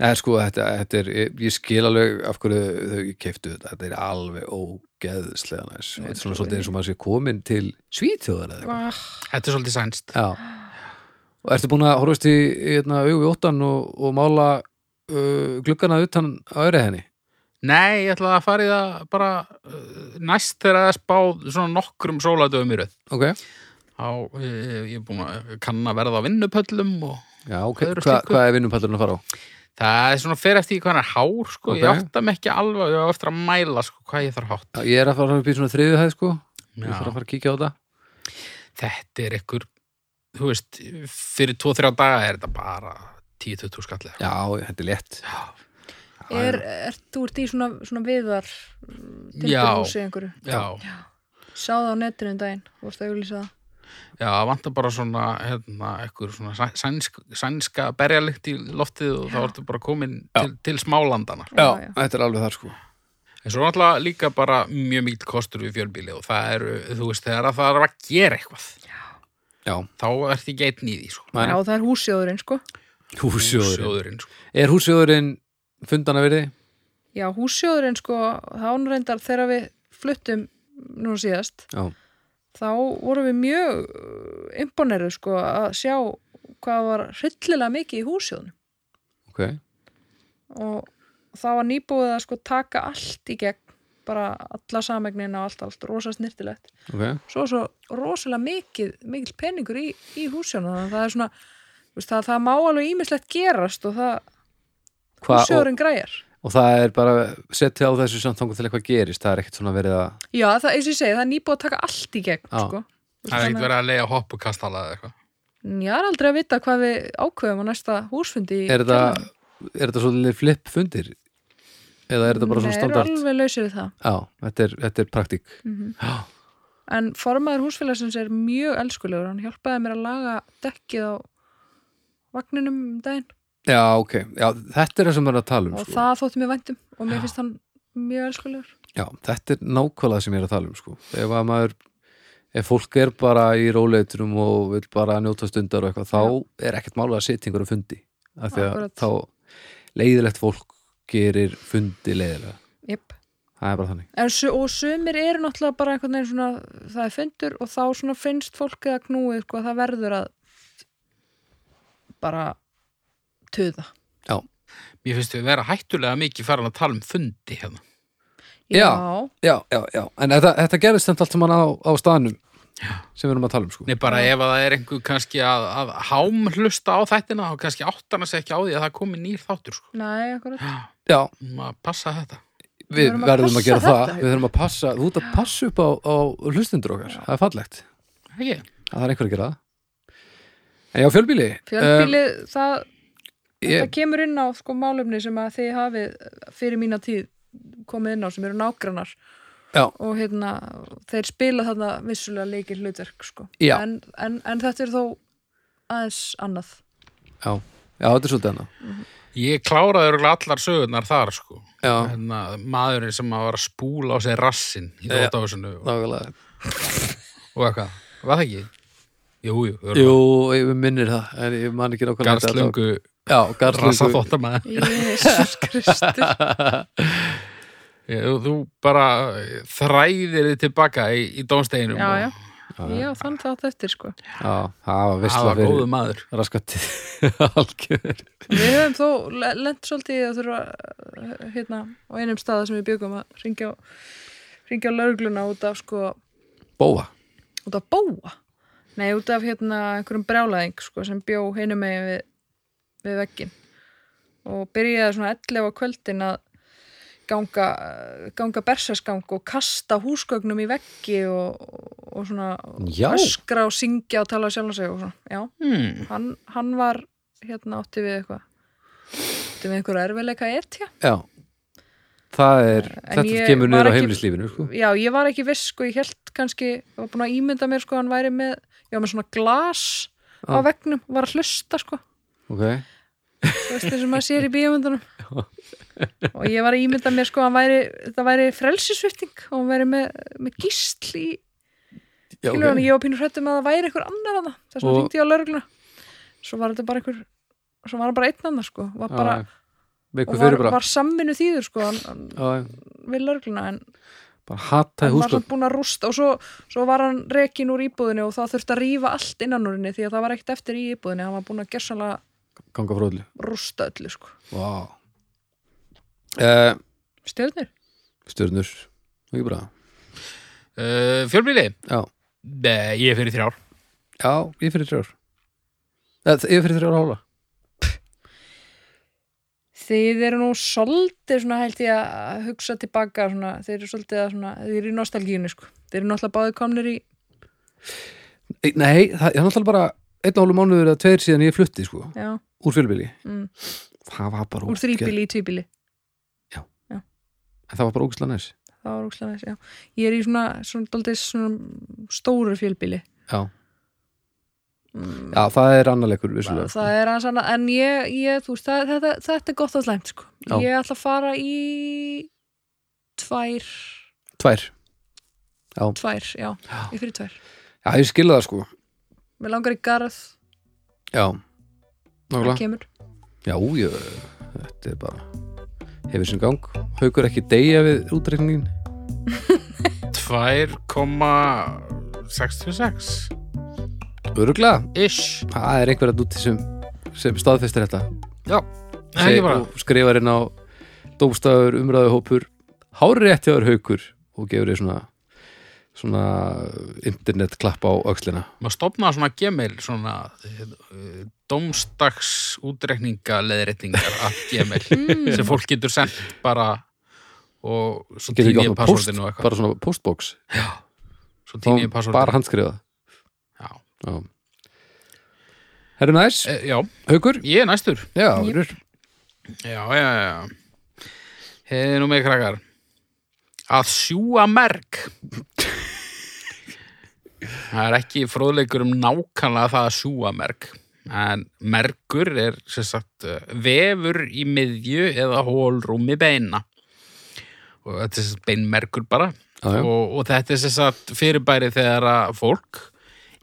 Speaker 2: Það er sko, þetta, þetta er, ég, ég skil alveg af hverju þau keiftu þetta, þetta er alveg ógeðslega næs. Þetta er svona svolítið eins og maður sé komin til svíþjóðar eða eitthvað.
Speaker 1: Vah,
Speaker 3: þetta er svolítið sænst
Speaker 2: Já. Og ertu búin að horfast í hérna, augu við óttan og, og mála uh, gluggana utan á öðri henni?
Speaker 3: Nei, ég ætla að fara í það bara uh, næst þegar það er spáð svona nokkrum sóladöfum í röð.
Speaker 2: Ok.
Speaker 3: Á, ég, ég er búin að kann að verða á vinnupöllum og
Speaker 2: Já, ok.
Speaker 3: Öðru
Speaker 2: Hva,
Speaker 3: stykku.
Speaker 2: hvað er vinnupallurinn að fara á?
Speaker 3: það er svona fyrir eftir því hvað hann er hár, sko. Ég
Speaker 2: Ok.
Speaker 3: átta mig ekki alveg, ég á eftir að mæla, sko, hvað ég þarf hátt.
Speaker 2: Já, Ég er að fara upp í svona þriðu hæð, sko. Ég
Speaker 3: Já.
Speaker 2: þarf að fara að kíkja á þetta.
Speaker 3: Þetta er ykkur, þú veist, fyrir 2-3 daga er þetta bara 10-20 skallið.
Speaker 2: Já, þetta er létt.
Speaker 1: er, er, þú ert í svona, svona viðar mm, timburhúsi einhverju
Speaker 3: Já,
Speaker 1: sá það á netinu um daginn, þú vorst að auglýsa það
Speaker 3: já, það vantar bara svona, hérna, ykkur svona sæ- sænsk, sænska berjalikt í loftið og þá ertu bara komin til, til sko. smálandana.
Speaker 1: Já, já.
Speaker 2: þetta er alveg þar, sko.
Speaker 3: En svo er náttúrulega líka bara mjög mikill kostur við fjölbíli og það eru, þú veist, þegar að það er að gera eitthvað,
Speaker 2: Já.
Speaker 3: þá ert ekki einn í því, sko.
Speaker 1: já, það er húsjóðurinn sko
Speaker 2: Húsjóðurinn.
Speaker 3: Sjóðurinn, sko.
Speaker 2: Er húsjóðurinn fundana verið?
Speaker 1: já, húsjóðurinn sko, þá nú reyndar þegar við fluttum nú síðast
Speaker 2: Já.
Speaker 1: þá vorum við mjög imponeruð sko að sjá hvað var hryllilega mikið í húsjóðunum
Speaker 2: Ok.
Speaker 1: og það var nýbúið að sko taka allt í gegn bara alla samegnina og allt, allt rosa snirtilegt
Speaker 2: Ok.
Speaker 1: svo svo rosalega mikið mikil peningur í, í húsjónu þannig að það er svona þú veist, það, það má alveg ímislegt gerast og það
Speaker 2: Hva, og,
Speaker 1: húsjóðurinn græjar
Speaker 2: og það er bara setja á þessu samtangu til eitthvað gerist. Það er ekkert svona verið að...
Speaker 1: já það eins og ég segi það er nýbúið að taka allt í gegn
Speaker 2: Já.
Speaker 1: sko.
Speaker 3: Það er ekkert verið að leiða hopp og kastala eða eitthvað.
Speaker 1: ég er aldrei að vita hvað við ákveðum á næsta húsfundi í
Speaker 2: Er þetta,
Speaker 1: kjallaranum.
Speaker 2: er þetta svolítið flip fundir? Eða er þetta bara svona
Speaker 1: Nei,
Speaker 2: standart?
Speaker 1: eru alveg Mhm. lausir við það
Speaker 2: Já, þetta er, þetta er praktík. Já,
Speaker 1: en formaður húsfélagsins er mjög elskulegur hann hjálpaði mér að laga dekkið á vagninum um daginn
Speaker 2: *gasps* Já, ok. Já, þetta er það sem við erum að tala um.
Speaker 1: og
Speaker 2: Sko.
Speaker 1: það þótti mér væntum og mér finnst hann mjög elskulegur
Speaker 2: Já, þetta er nákvæmlega það sem ég er að tala um. Sko. Ef, að maður, ef fólk er bara í róleiturum og vil bara njóta stundar og eitthvað, þá er ekkert mála að setja einhverjum fundi. Af því að
Speaker 1: Akkúrat.
Speaker 2: þá leiðilegt fólk gerir fundi leiðilega.
Speaker 1: yep.
Speaker 2: Það er bara þannig.
Speaker 1: En, su- og sumir eru náttúrulega bara einhvern veginn svona, það er fundur og þá svona finnst fólkið að knúið, sko, það verður að bara töða.
Speaker 3: Mér finnst við vera hættulega mikið farin að tala um fundi hérna.
Speaker 2: Já. Já, já, já. En þetta, þetta gerist samt allt sem mann á, á staðnum. sem við erum að tala um sko
Speaker 3: Nei, bara ef að það er einhver kannski að, að hám hlusta á þættina og kannski áttan að segja ekki á því að það komi nýr þáttur sko.
Speaker 1: Nei, akkurat.
Speaker 2: Já,
Speaker 3: Maður passa þetta.
Speaker 2: við
Speaker 1: Við verðum
Speaker 2: verðum
Speaker 1: að
Speaker 2: að,
Speaker 1: passa
Speaker 2: gera
Speaker 1: þetta,
Speaker 2: það
Speaker 1: Haukur.
Speaker 2: Við þurfum að passa, þú ert að passa upp á, á hlustundur okkar, það er fallegt
Speaker 3: Ekki?
Speaker 2: að það er einhver að gera það En já, Eh, fjölbíli
Speaker 1: Fjölbíli, það, það
Speaker 2: ég,
Speaker 1: kemur inn á sko málumni sem að þið hafið fyrir mína tíð komið inn á sem eru nágrannar
Speaker 2: Já,
Speaker 1: og hérna, þeir spila þarna vissulega leikir hlutverk sko.
Speaker 2: Já.
Speaker 1: en, en, en þetta er þó aðeins annað
Speaker 2: já, já, þetta er svolítið annað
Speaker 3: Ég kláraði örugglega allar sögurnar þar sko.
Speaker 2: Já,
Speaker 3: Þannig að maðurinn sem að var að spúla á sig rassinn í
Speaker 2: Já.
Speaker 3: þóttahúsinu og,
Speaker 2: nákvæmlega
Speaker 3: og eitthvað. Var það ekki? Jú, jú.
Speaker 2: Jú, ég minnir það, en ég man ekki nákvæmlega
Speaker 3: Garslöngu
Speaker 2: Já, garslungu
Speaker 3: rassaþóttamæður.
Speaker 1: Jésus Kristi
Speaker 3: Já, og þú bara eh, þræðir þið tilbaka í, í dómsteginum
Speaker 1: Já, já,
Speaker 3: og
Speaker 1: já, þann þátt eftir sko
Speaker 2: Já, það var
Speaker 3: hafa
Speaker 2: veistla
Speaker 3: góðu
Speaker 2: fyrir
Speaker 3: maður
Speaker 2: raskatið *laughs* algjör
Speaker 1: Við höfum þó le- lent svolítið í að þurfa uh, hérna á einum staða sem við byggum að ringja á, ringja á laugluna út af sko
Speaker 2: Bóa,
Speaker 1: út af bóa nei, út af hérna einhverjum brjálæðing sko, sem bjó hinum megin við, við veggin og byrjaði svona 11 á kvöldin að ganga, ganga bersasgang og kasta húsgögnum í veggi og, og svona
Speaker 2: Já.
Speaker 1: öskra og syngja og tala sjálf og segja og svona, já,
Speaker 3: hmm.
Speaker 1: hann, hann var hérna átti við eitthvað átti við einhverja erfiðleika etja
Speaker 2: já Það er,
Speaker 1: En
Speaker 2: þetta
Speaker 1: ég
Speaker 2: kemur
Speaker 1: var
Speaker 2: niður á
Speaker 1: ekki-
Speaker 2: heimlislífinu sko.
Speaker 1: já, ég var ekki viss sko, ég held kannski, ég var búin að ímynda mér sko, hann væri með, ég var með svona glas á
Speaker 2: Ah.
Speaker 1: vegnum, var að hlusta sko
Speaker 2: okay.
Speaker 1: þú veist þessum maður sér í bíómyndunum og ég var að ímynda mér sko, hann væri þetta væri frelsisvipting og hann væri með, með gísl í
Speaker 2: Já,
Speaker 1: okay. ég var pínur hrættum að það væri einhver annar annar, þess vegna
Speaker 2: Og-
Speaker 1: hringdi ég á laurugluna svo var þetta bara einhver svo var hann bara einn annar sko, var bara,
Speaker 2: Já, með
Speaker 1: og
Speaker 2: ykkur
Speaker 1: var,
Speaker 2: fyrir bara,
Speaker 1: var samvinnu þýður sko, hann, hann,
Speaker 2: já,
Speaker 1: við laurugluna en
Speaker 2: bara hataði
Speaker 1: hann var
Speaker 2: húsgögn
Speaker 1: samt búin að rústa og svo, svo var hann rekin úr íbúðinu og það þurfti að rífa allt innan úr henni því að það var ekkert eftir í íbúðinu hann var búin að gersanlega
Speaker 2: ganga frá öllu
Speaker 1: rústa öllu sko.
Speaker 2: wow. uh,
Speaker 1: stjörnir?
Speaker 2: stjörnur ekki bra
Speaker 3: uh, Fjölbíli,
Speaker 2: já,
Speaker 3: Nei, ég er fyrir þrjár
Speaker 2: já ég fyrir þrjár Eð, ég fyrir þrjár og hálfa
Speaker 1: Þið eru nú svolítið svona held ég að hugsa tilbaka svona, þeir eru svolítið að svona, þeir eru í nostalgíunni sko. þeir eru náttúrulega báði komnir í
Speaker 2: E- nei, það það er náttúrulega bara einn og hálfu mánuður eða tveir síðan ég flutti sko,
Speaker 1: já,
Speaker 2: úr fjölbili
Speaker 1: mm,
Speaker 2: það var bara
Speaker 1: úr þrýbili í tvíbili
Speaker 2: ógeð- það var bara ógislega næs
Speaker 1: það var úkslega þess, já ég er í svona, svona, dálítið svona stóru fjölbili
Speaker 2: já.
Speaker 1: mm,
Speaker 2: já, það er annarleikur vissulega
Speaker 1: það er aðeins annað, en ég, ég þú veist, það, þetta, þetta er gott og slæmt sko.
Speaker 2: Já.
Speaker 1: ég ætla að fara í tvær
Speaker 2: tvær,
Speaker 1: tvær, já, ég fyrir tvær
Speaker 2: já ég skilja það sko
Speaker 1: mér langar í garð,
Speaker 2: já,
Speaker 1: það
Speaker 2: nákvæmlega
Speaker 1: kemur
Speaker 2: Já, ég, þetta er bara hefur sinn gang, haukur ekki deyja við útreikningin
Speaker 3: 2,66
Speaker 2: öruglega,
Speaker 3: Ish
Speaker 2: það er einhverja núti sem, sem staðfestir þetta
Speaker 3: Já, ekki bara
Speaker 2: og skrifar inn á dómstafur, umræðu hópur hárið rétt hjá þér haukur og gefur þér svona svona internet klapp á öxlina
Speaker 3: Maður stopnaði svona gemil svona eh, domstags útrekninga leðréttingar að
Speaker 1: *laughs*
Speaker 3: gemil
Speaker 1: Hmm.
Speaker 3: sem fólk getur sendt bara og svo
Speaker 2: getur
Speaker 3: týni
Speaker 2: ekki
Speaker 3: ég
Speaker 2: opnað post,
Speaker 3: passordinu og eitthvað
Speaker 2: bara svona postbox
Speaker 3: Svo týni ég
Speaker 2: og bara
Speaker 3: passordinu
Speaker 2: handskrifa
Speaker 3: Já.
Speaker 2: Já. Herru næs,
Speaker 3: Eh, Já,
Speaker 2: haukur
Speaker 3: ég er næstur
Speaker 2: Já,
Speaker 1: Ég-
Speaker 2: yep.
Speaker 3: Já, já, já Heiði nú með krakkar Að sjúa merk Það er ekki fróðleikur um nákvæmlega það að sjúa merk En merkur er sem sagt eh, vefur í miðju eða hólrúmi beina og þetta er sem sagt beinmerkur bara
Speaker 2: Já, já.
Speaker 3: Og, og þetta er sem sagt fyrirbæri þegar að fólk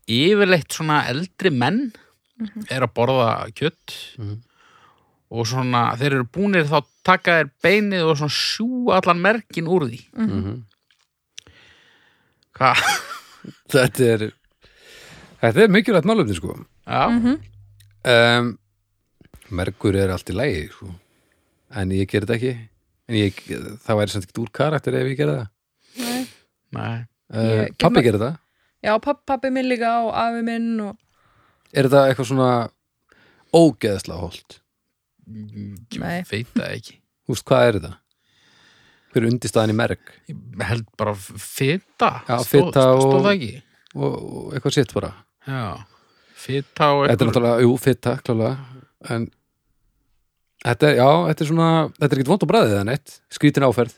Speaker 3: yfirleitt svona eldri menn
Speaker 1: Mhm.
Speaker 3: er að borða kjött
Speaker 2: Mhm.
Speaker 3: og svona þeir eru búnir þá taka þér beinið og svona sjú allan merkin úr því
Speaker 2: Mhm.
Speaker 3: hvað?
Speaker 2: þetta er þetta er mikilvægt málefni sko
Speaker 3: Já,
Speaker 1: Mhm.
Speaker 2: um, mergur er allt í lægi sko. en ég ger þetta ekki en ég, það væri samt ekki úr karakter ef ég gerði það
Speaker 1: Nei,
Speaker 3: nei
Speaker 2: uh,
Speaker 1: Ég-
Speaker 2: pappi gerði það
Speaker 1: já, papp, pappi minn líka og afi minn og
Speaker 2: Er þetta eitthvað svona ógeðslega holt?
Speaker 3: Ég
Speaker 1: Nei.
Speaker 3: veit það ekki
Speaker 2: Þú veist, hvað er þetta? Hver er undirstaðan í merg
Speaker 3: Ég held bara fita
Speaker 2: Já,
Speaker 3: Stóð-
Speaker 2: fita og-
Speaker 3: stóð það ekki
Speaker 2: og, og eitthvað sitt bara
Speaker 3: já, fita og
Speaker 2: Þetta er
Speaker 3: einhver-
Speaker 2: náttúrulega, jú, fitta, klálega en þetta er, já, þetta er svona þetta er ekkert vond á bræðið eða neitt skrítin áferð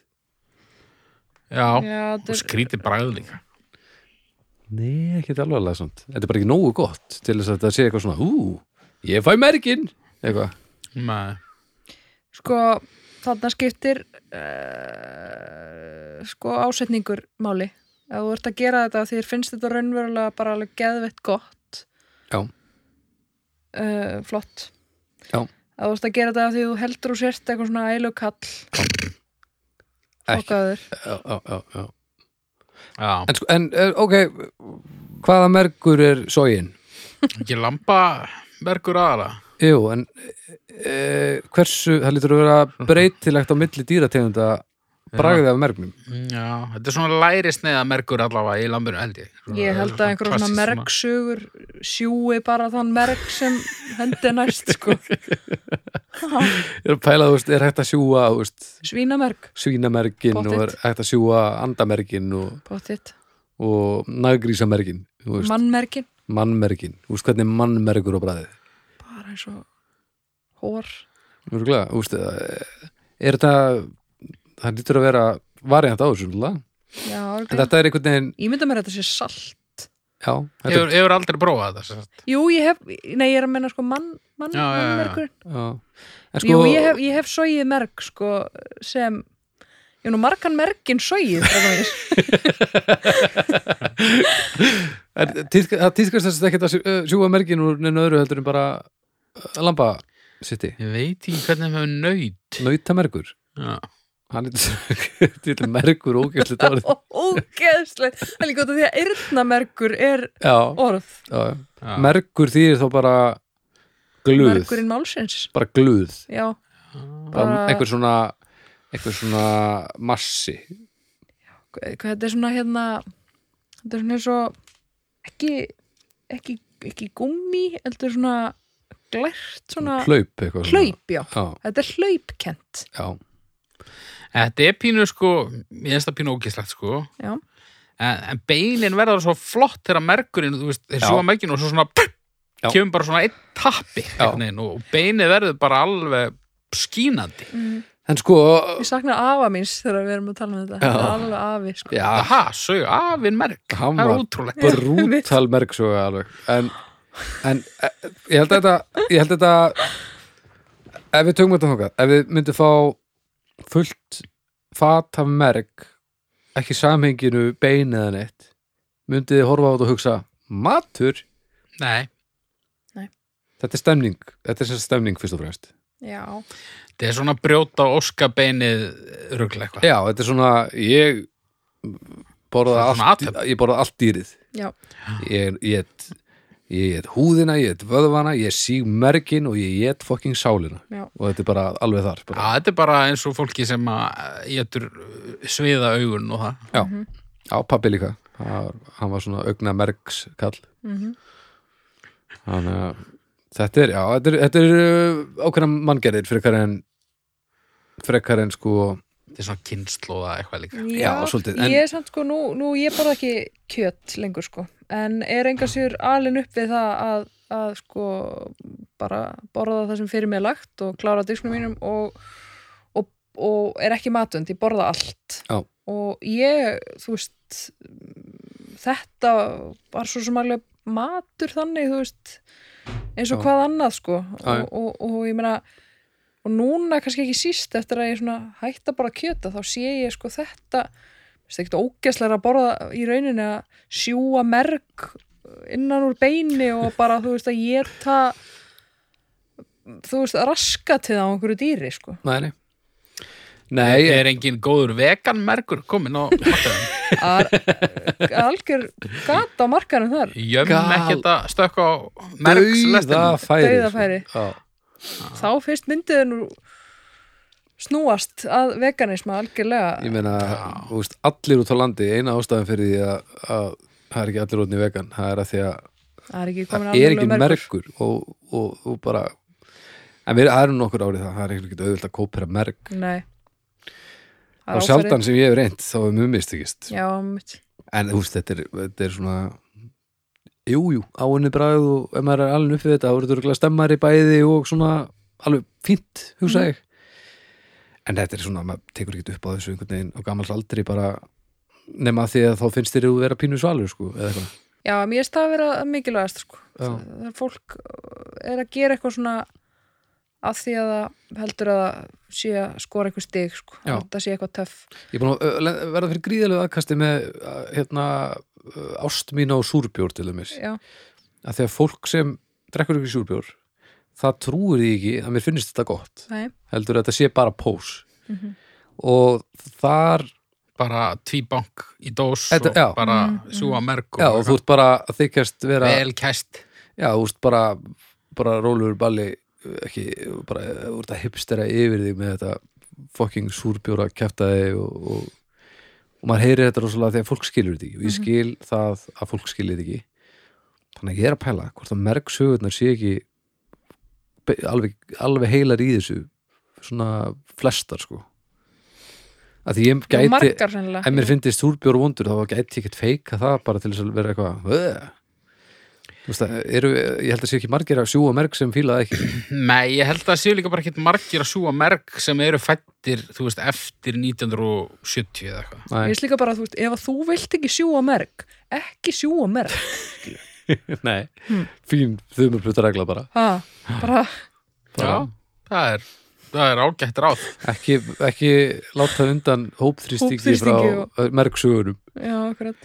Speaker 3: já,
Speaker 1: já, þetta
Speaker 3: og
Speaker 1: er-
Speaker 3: skríti bræð líka
Speaker 2: Nei, ekki alveg alveg svona Þetta er bara ekki nógu gott til þess að þetta sé eitthvað svona Ú, ég fæ mergin eitthvað
Speaker 3: Nei.
Speaker 1: sko, þarna skiptir uh, sko ásetningur máli ef þú ert að gera þetta því þér finnst þetta raunverulega bara alveg geðveitt gott
Speaker 2: Já.
Speaker 1: Eh, flott
Speaker 2: Já.
Speaker 1: ef þú ert að gera þetta því þú heldur og sért eitthvað svona ælu kall fokkaður
Speaker 2: já, já, já, já.
Speaker 3: já,
Speaker 2: En, sko, en eh, ok, hvaða mergur er sógin?
Speaker 3: ekki lampa verkur aðra
Speaker 2: Jú, en e, hversu, það lítur að *laughs* vera breytilegt á milli dýrategunda bragðið af mergnum
Speaker 3: já, þetta er svona læri sneða merkur allavega í lambinu held ég Svona-
Speaker 1: ég held að einhverjum svona
Speaker 3: klassískt
Speaker 1: merksugur sjúi bara þann merk sem hendi næst
Speaker 3: *laughs*
Speaker 1: sko
Speaker 2: Ég er að pæla, þú veist, er hægt að sjúga þú veist,
Speaker 1: svínamerk,
Speaker 2: svínamergin
Speaker 1: Pottitt.
Speaker 2: og er hægt að sjúga andamergin og,
Speaker 1: pottitt
Speaker 2: og naggrísamergin, þú veist,
Speaker 1: mannmerkin,
Speaker 2: mannmergin þú veist hvernig mannmergur á bræðið
Speaker 1: bara eins og hór
Speaker 2: Úrglega, þú veist, eh, er þetta það lítur að vera variant á þessu, náttúrulega.
Speaker 1: já,
Speaker 2: en
Speaker 1: örugglega.
Speaker 2: þetta er einhvern veginn,
Speaker 1: Ég mynda mér að þetta sé salt
Speaker 2: já þetta,
Speaker 3: Hefur, hefur aldrei prófað þetta sem sagt.
Speaker 1: Jú, ég hef, nei, ég er að menna sko mann, mann,
Speaker 3: Já, já, já. sko-
Speaker 1: mannmerkur
Speaker 2: já. En sko-
Speaker 1: Jú, ég hef, ég hef sóið merk sko sem Ég hef nú margan merkin sóið
Speaker 3: *laughs*
Speaker 2: Er, tíðka, það tíðkast þess að ekki að sjú- eh, sjúga mergin úr neina öðru heldur en bara eh, lamba sitti
Speaker 3: Ég veit ekki hvernig maður nöyt
Speaker 2: nautamergur
Speaker 3: Já,
Speaker 2: hann *laughs* er til mergur ógæslega dórið
Speaker 1: Ógeðslega Það er líka út af því að yrnamerkur er
Speaker 2: já,
Speaker 1: orð
Speaker 2: já, já.
Speaker 3: já.
Speaker 2: mergur þýðir þá bara gluð
Speaker 1: Merkurinn málsins
Speaker 2: bara gluð
Speaker 1: Já,
Speaker 2: bara
Speaker 3: Ah.
Speaker 1: Bara-
Speaker 2: einhver svona einhver svona massi
Speaker 1: hvað hvað þetta er svona hérna Þetta er svona eins og ekki, ekki, ekki gummi Þetta er svona glært
Speaker 3: Ah.
Speaker 1: svona
Speaker 2: hlaup eitthvað svona.
Speaker 1: Hlaup, já
Speaker 2: já,
Speaker 1: Þetta er hlaupkent
Speaker 2: já,
Speaker 3: Þetta er pínu sko ég finnst það pínu ógislegt sko
Speaker 1: Já.
Speaker 3: en, en beinin verður svo flott þegar merkurinn, þú veist,
Speaker 2: Já.
Speaker 3: þeir sjúga merkinn og svo svona pff,
Speaker 2: Já.
Speaker 3: kemur bara svona einn tappi einhvern veginn, og beinið verður bara alveg skínandi
Speaker 2: en sko
Speaker 1: Ég sakna afa míns þegar við erum að tala um þetta
Speaker 2: Já.
Speaker 1: Þetta er alveg afi sko.
Speaker 2: já,
Speaker 3: Aha, sög, afinn merk
Speaker 2: Hann
Speaker 3: Það
Speaker 2: var-
Speaker 3: er ótrúlegt
Speaker 2: brútal mergsuga alveg en, en eh, ég held að þetta ég held að þetta ef við tökum þetta þangað, ef við myndum fá fullt fat af merg ekki samhenginu bein eða neitt myndið þið horfa á þetta og hugsa matur,
Speaker 3: Nei,
Speaker 2: þetta er stemning þetta er sem sagt stemning fyrst og fremst
Speaker 1: Já,
Speaker 3: þetta er svona brjóta óskabeinið rugla eitthvað
Speaker 2: já, þetta er svona, ég borða
Speaker 3: Þetta er svona
Speaker 2: allt, ég borða allt dýrið
Speaker 1: já,
Speaker 2: ég ég get ég get húðina, ég get vöðvana ég síg mergin og ég get fucking sálina
Speaker 1: já,
Speaker 2: og þetta er bara alveg þar
Speaker 3: Já,
Speaker 2: bara.
Speaker 3: þetta er bara eins og fólki sem að getur sviða augun og það.
Speaker 2: já, já pappi líka Það- hann var svona augna mergs kall
Speaker 1: mhm,
Speaker 2: þannig að þetta er, já, þetta er, þetta er uh, ákveðna manngerðir frekar en frekar en sko
Speaker 3: Þetta er svona kynnslóða eitthvað líka.
Speaker 2: Já, svolítið, en-
Speaker 1: Ég er samt sko, nú, nú ég borða ekki kjöt lengur sko En er enga sér alin upp við það að, að sko bara borða það sem fyrir mig er lagt og klára disknum mínum og, og, og er ekki matund, ég borða allt
Speaker 2: Já.
Speaker 1: Og ég, þú veist þetta var svo sem alveg matur þannig, þú veist eins og
Speaker 2: Já.
Speaker 1: hvað annað sko
Speaker 2: Já, já.
Speaker 1: og, og, og ég meina og núna kannski ekki síst eftir að ég svona hætta bara að kjöta þá sé ég sko þetta það er ekkert ógeðslega að borða í rauninni að sjúa merg innan úr beini og bara þú veist að geta þú veist að raska til það á einhverju dýri sko
Speaker 2: nei, nei, nei
Speaker 3: Þetta
Speaker 2: ég,
Speaker 3: er engin góður veganmerkur komin á markaðum.
Speaker 1: að að algjör gata á markanum þar
Speaker 3: Jömm
Speaker 2: Gal-
Speaker 3: ekki þetta stökk á
Speaker 2: dauða
Speaker 3: merkslestin.
Speaker 2: færi,
Speaker 1: Dauðafæri.
Speaker 2: Sko. Já.
Speaker 1: þá fyrst myndið nú snúast að veganisma algjörlega
Speaker 2: ég meina, þú veist, allir út á landi eina ástæðan fyrir því að- að það er ekki allir rótni vegan það er að því að
Speaker 1: það er ekki komin
Speaker 2: það er ekki
Speaker 1: alvarlegur
Speaker 2: mergur og, og, og bara en við erum nokkur árið það, það er ekki auðvöld að kópera merg
Speaker 1: Nei Það er
Speaker 2: og
Speaker 1: áferðin.
Speaker 2: sjaldan sem ég hef reynt þá er mjög mistekist
Speaker 1: Já, mitt
Speaker 2: en þú veist, þetta er, þetta er svona jújú, jú, áinni bragð og ef maður er alveg uppið þetta, þá eru þetta örugglega stemmari bæði og svona alveg fínt hugsa ég en þetta er svona, maður tekur ekki upp á þessu einhvern veginn og gamals aldrei bara nema því að þá finnst þér þú vera pínu svalur sko, eða eitthvað
Speaker 1: Já, mér finnst það að vera mikilvægast sko.
Speaker 2: Já.
Speaker 1: þegar fólk uh, er að gera eitthvað svona að því að það heldur að það sé að skora eitthvað stig sko.
Speaker 2: Já.
Speaker 1: það sé eitthvað töff
Speaker 2: Ég er búin að ö, le- verða fyrir gríðalegu aðkasti með ö, hérna, ö, ást mína og súrbjór til dæmis.
Speaker 1: Já,
Speaker 2: Að þegar fólk sem drekkur ekki súrbjór, það trúir því ekki að mér finnist þetta gott.
Speaker 1: nei,
Speaker 2: Heldur að þetta sé bara pós. Og þar,
Speaker 3: bara tvíbank í dós
Speaker 2: Þetta- já.
Speaker 3: og bara sjúga merg
Speaker 2: já, og þú ert bara að þykjast vera,
Speaker 3: vel kæst
Speaker 2: já, þú ert bara, bara rólur balli, ö, ekki, bara, ö, þú ert að hipstera yfir því með þetta fucking súrbjóra kæftaði og, og, og maður heyrir þetta rosalega þegar fólk skilur þetta ekki og ég skil það að fólk skilir þetta ekki þannig að ég er að pæla hvort að merg sögurnar sé ekki be- alveg, alveg heilar í þessu svona flestar sko að því ég
Speaker 1: Gæti,
Speaker 2: gæti
Speaker 1: margar sennilega
Speaker 2: ef mér fyndist súrbjór vondur þá gæti ég ekkert feika það bara til þess að vera eitthvað "Ugh." Þú veist að, eru, ég held að sé ekki margir að sjúga merg sem fíla það ekki
Speaker 3: Nei, ég held að það séu líka bara ekkert margir að sjúga merg sem eru fættir, þú veist, eftir 1970 eða eitthvað
Speaker 1: Mér
Speaker 2: Nei,
Speaker 1: finnst líka bara að þú veist, ef að þú vilt ekki sjúa merg ekki sjúa merg
Speaker 2: nei. fín þumurplutaregla bara
Speaker 1: ha, bara,
Speaker 2: Bara-
Speaker 3: Já, það er, það er ágætt ráð
Speaker 2: ekki, ekki láta undan hópþrýstingi frá
Speaker 1: Hópþrýstingi
Speaker 2: mergsugunum
Speaker 1: já, akkurat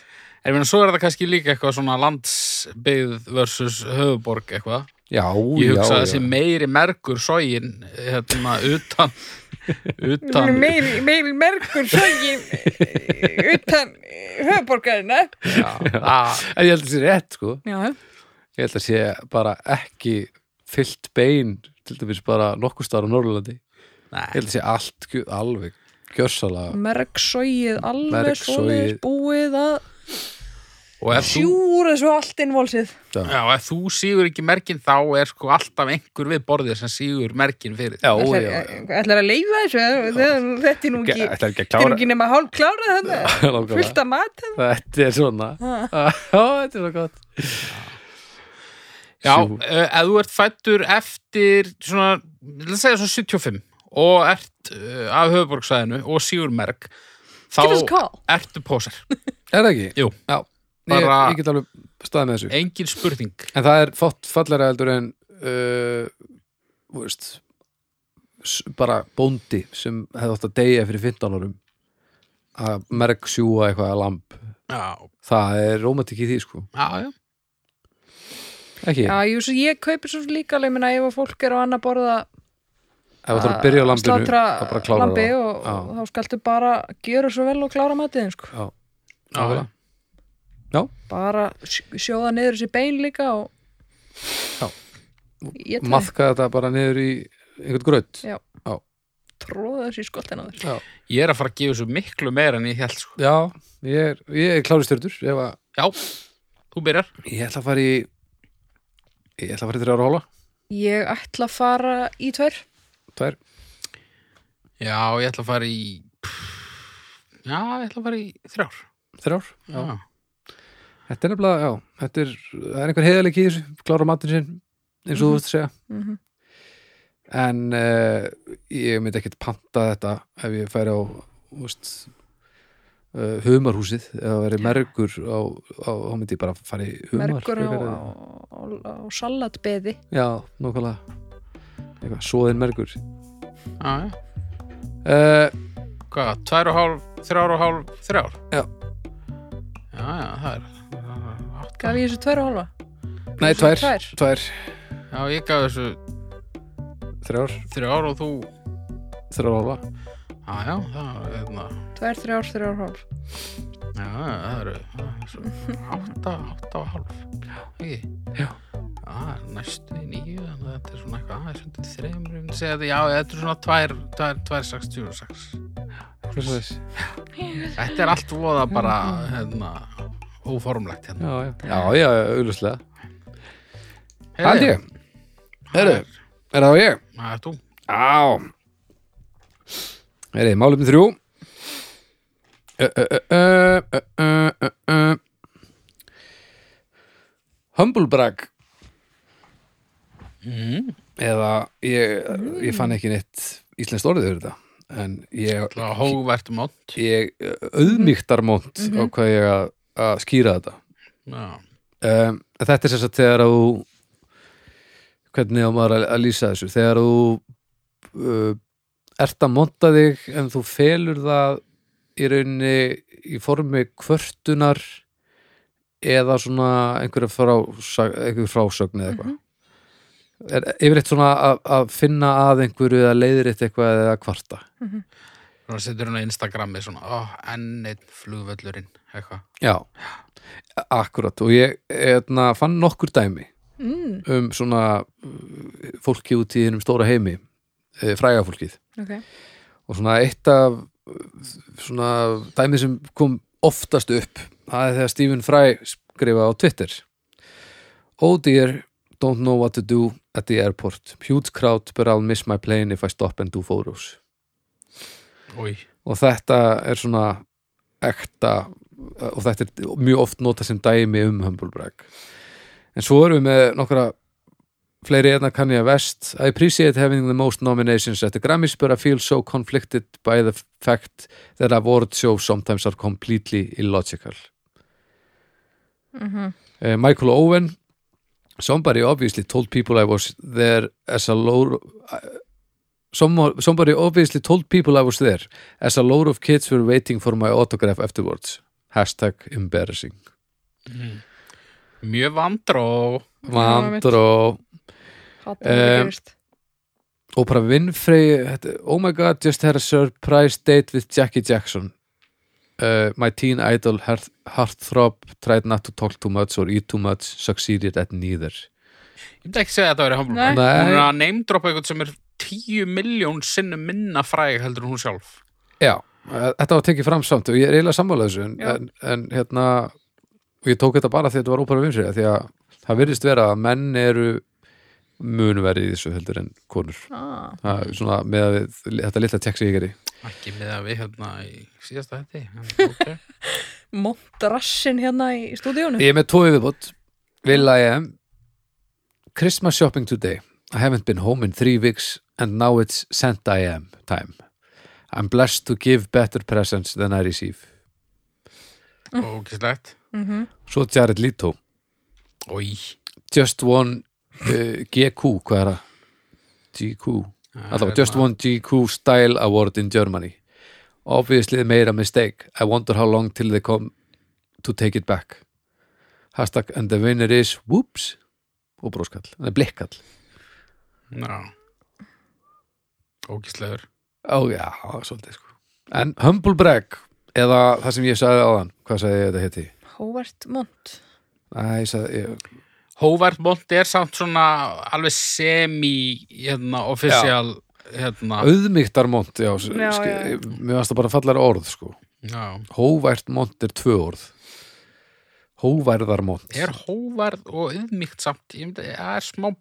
Speaker 3: En ég meina, svo er það kannski líka eitthvað svona landsbyggð versus höfuborg eitthvað
Speaker 2: já,
Speaker 3: Ég hugsa
Speaker 2: já,
Speaker 3: að þessi
Speaker 2: já.
Speaker 3: meiri mergur sógin hérna utan utan
Speaker 1: meiri, meiri mergur sögin
Speaker 2: eh,
Speaker 1: utan höfuborgarina
Speaker 3: já, að,
Speaker 2: en ég held að sé rétt sko
Speaker 1: Já,
Speaker 2: ég held að sé bara ekki fyllt bein til dæmis bara nokkuð starf á Norrlandi ég
Speaker 3: Nei,
Speaker 2: held að sé allt gjö- alveg gjörsala
Speaker 1: mergsóið alveg
Speaker 2: Mergsogið.
Speaker 1: svoleiðis búið að
Speaker 3: og ef þú,
Speaker 1: sjúra þessu allt innvolsið
Speaker 3: já, ef þú sígur ekki merkin þá er sko alltaf einhver við borðið sem sígur merkin fyrir
Speaker 2: já, já, já
Speaker 1: ætlar að leifa þessu eh? Þetta- þetta er nú ekki
Speaker 2: Þetta er ekki að
Speaker 1: þetta er nú
Speaker 2: klára
Speaker 1: ekki nema hálf klára þetta
Speaker 2: *laughs* Nákvæmlega.
Speaker 1: fullt að mat þarna.
Speaker 2: Þetta er svona
Speaker 1: Ha.
Speaker 2: Ó, Þetta er svo gott
Speaker 3: Já,
Speaker 2: Sjú.
Speaker 3: eh, ef þú ert fættur eftir svona, let's segja svona 75 og ert uh, af höfuborgsæðinu og sígurmerk
Speaker 1: Give us a
Speaker 3: þá
Speaker 1: call
Speaker 3: ertu pósar
Speaker 2: Er það ekki?
Speaker 3: Jú.
Speaker 2: Já, ég,
Speaker 3: Bara-
Speaker 2: ég get alveg staðið með þessu
Speaker 3: engin spurning
Speaker 2: En það er fótt fallara heldur en uh, þú veist, s- bara bóndi sem hefði átt að deyja fyrir 15 árum að merg sjúa eitthvað að lamp
Speaker 3: Já,
Speaker 2: það er rómantik í því sko
Speaker 3: já, já
Speaker 2: ekki,
Speaker 1: Já, jú, svo ég kaupi svo líka alveg minna ef að fólk er á annað borða
Speaker 2: ef þú þarf að byrja á lambinu
Speaker 1: slátra
Speaker 2: að bara klára
Speaker 1: lambi
Speaker 2: það
Speaker 1: og,
Speaker 2: Já.
Speaker 1: og þá skaltu bara gjöra svo vel og klára matiðin sko.
Speaker 2: Já,
Speaker 3: Já, já.
Speaker 2: nákvæmlega.
Speaker 1: bara sj- sjóða niður þessi bein líka og
Speaker 2: Já.
Speaker 1: ég tæði
Speaker 2: maðka þetta bara niður í einhvern grödd
Speaker 1: Já.
Speaker 2: Já.
Speaker 1: tróða þessi skoltin á þér
Speaker 2: Já,
Speaker 3: Ég er að fara að gefa svo miklu meira en ég held sko.
Speaker 2: já ég er, ég er klári stjördur ef að,
Speaker 3: Já, þú byrjar
Speaker 2: ég ætla að fara í ég ætla að fara í þrjára hóla
Speaker 1: Ég ætla að fara í tvær
Speaker 2: tvær,
Speaker 3: Já, ég ætla að fara í Já, ég ætla að fara í þrjár
Speaker 2: þrjár já.
Speaker 3: Já,
Speaker 2: þetta er nefnilega, já, þetta er það er einhver heiðalegi í þessu, klára matinn sinn eins og þú veist að segja
Speaker 1: Mhm.
Speaker 2: en uh, ég myndi ekkert panta þetta ef ég færi á þú veist, uh, humarhúsið eða verið mergur á, á, þá myndi ég bara fara í humar
Speaker 1: mergur á,
Speaker 2: frekar
Speaker 1: á,
Speaker 2: en-
Speaker 1: á, á salatbeði
Speaker 2: já, nákvæmlega eitthvað, svoðin mergur
Speaker 3: já, já
Speaker 2: uh,
Speaker 3: Hvað, tvær og hálf, þrjár og hálf, þrjár
Speaker 2: Já.
Speaker 3: Já, já, það er átta.
Speaker 1: Gaf ég þessu tvær og halva?
Speaker 2: nei,
Speaker 1: Þú sagðir
Speaker 2: tvær, tvær, tvær
Speaker 3: Já, ég gaf þessu
Speaker 2: þrjár,
Speaker 3: þrjár og þú
Speaker 2: þrjár ála
Speaker 3: Já, já, það er hérna
Speaker 1: Tvær, þrjár, þrjár og hálf
Speaker 3: Já, já, það eru það er svo átta, átta og hálf ekki?
Speaker 2: Já.
Speaker 3: Það er næstu í nýju en þetta er svona eitthvað aðeins undir þreymur ég myndi segja þetta, já, þetta er svona tvær, tvær, tvær, sex, tjú, sex
Speaker 2: Hvað er það?
Speaker 3: Þetta er allt voða bara, hérna óformlegt hérna.
Speaker 2: já, já, já, já, auðvitað Hald
Speaker 3: Heyrðu,
Speaker 2: ég, heyrðu, er það á ég?
Speaker 3: það er þú.
Speaker 2: Á Heyri, málefni þrjú Ö, ö, ö, ö, ö, ö, ö, ö. Humblebrag Mm. Eða ég, ég fann ekki neitt íslenskt orðið fyrir þetta En ég,
Speaker 3: Það er hóvært mótt.
Speaker 2: ég auðmýktarmónt á hvað ég að, að skýra þetta
Speaker 3: Já.
Speaker 2: um, þetta er sem sagt þegar þú hvernig á maður að, að lýsa þessu þegar þú uh, ert að monta þig en þú felur það í rauninni í formi kvörtunar eða svona einhverja frásögn, einhver frásögn eða eitthvað er yfirleitt svona að, að finna að einhverju eða leiðir eitthvað eða kvarta
Speaker 3: Nú setur hún á Instagrami svona, ó, enn einn flugvöllurinn, eitthvað.
Speaker 2: Já, akkurat og ég eitna, fann nokkur dæmi
Speaker 1: Mm,
Speaker 2: um svona uh, fólki út í hennum stóra heimi eh, fræga fólkið
Speaker 1: ok.
Speaker 2: og svona eitt af uh, svona dæmið sem kom oftast upp það er þegar Stephen Fry skrifaði á Twitter Oh dear, don't know what to do at the airport huge crowd but I'll miss my plane if I stop and do photos
Speaker 3: Új,
Speaker 2: og þetta er svona ekta og þetta er mjög oft nota sem dæmi um humble brag en svo erum við með nokkra fleiri einna kann ég að vest I appreciate having the most nominations at the Grammys but I feel so conflicted by the fact that award shows sometimes are completely illogical
Speaker 1: Mhm.
Speaker 2: uh, Michael Owen somebody obviously told people I was there as a load Some, somebody obviously told people I was there as a load of kids were waiting for my autograph afterwards hashtag embarrassing
Speaker 3: mjög vandró.
Speaker 2: Vandró
Speaker 1: Hatta það
Speaker 2: Um,
Speaker 1: gerist.
Speaker 2: Oprah Winfrey þetta- Oh my god, just had a surprise date with Jackie Jackson uh, My teen idol heart, heartthrob tried not to talk too much or eat too much succeeded at neither
Speaker 3: Ég myndi ekki segja að þetta verið humble
Speaker 1: Nei.
Speaker 3: brag. Hún
Speaker 2: Nei.
Speaker 3: er að neymdropa eitthvað sem er 10 miljón sinnum minna fræg heldur en hún sjálf.
Speaker 2: Já, eh, þetta var tekið fram samt og ég er eiginlega sammála þessu en,
Speaker 1: Já.
Speaker 2: en, en hérna og ég tók þetta bara því að þetta var Oprah Winfrey af því að það virðist vera að menn eru munverið í þessu heldur en konur
Speaker 1: Ah,
Speaker 2: það er svona með að við, þetta litla tjekk sem ég geri
Speaker 3: Ekki með að við hérna í síðasta hætti. *laughs* en ok.
Speaker 1: Montrassin hérna í stúdíónu.
Speaker 2: Ég er með tvo yfirbútt Will I am Christmas shopping today I haven't been home in three weeks and now it's sent I am time I'm blessed to give better presents than I receive
Speaker 3: Ógislegt.
Speaker 2: Svo Jared Leto
Speaker 3: Új,
Speaker 2: Just One uh, GQ, hvað er það? GQ Allavega, Just
Speaker 3: hérna-
Speaker 2: One GQ Style Award in Germany Obviously they made a mistake I wonder how long till they come to take it back Hashtag and the winner is whoops og bróskall, það er blikkall
Speaker 3: ná. Ógislegur.
Speaker 2: Ó já, svolítið sko En humble brag eða það sem ég sagði áðan, hvað sagði ég þetta heiti?
Speaker 1: Hóvert Mont.
Speaker 2: Æ, ég sagði, ég,
Speaker 3: Hóvært mótt er samt svona alveg semi, hérna, official, hérna.
Speaker 2: auðmygtarmont já,
Speaker 1: Já,
Speaker 2: sk-
Speaker 1: já, já.
Speaker 2: mér varst það bara fallar orð sko
Speaker 3: Já.
Speaker 2: Hóvært mont er tvö orð Hóværðar mont
Speaker 3: er hóvarð og yðmíkt samt ég myndi, það er smá
Speaker 1: Það,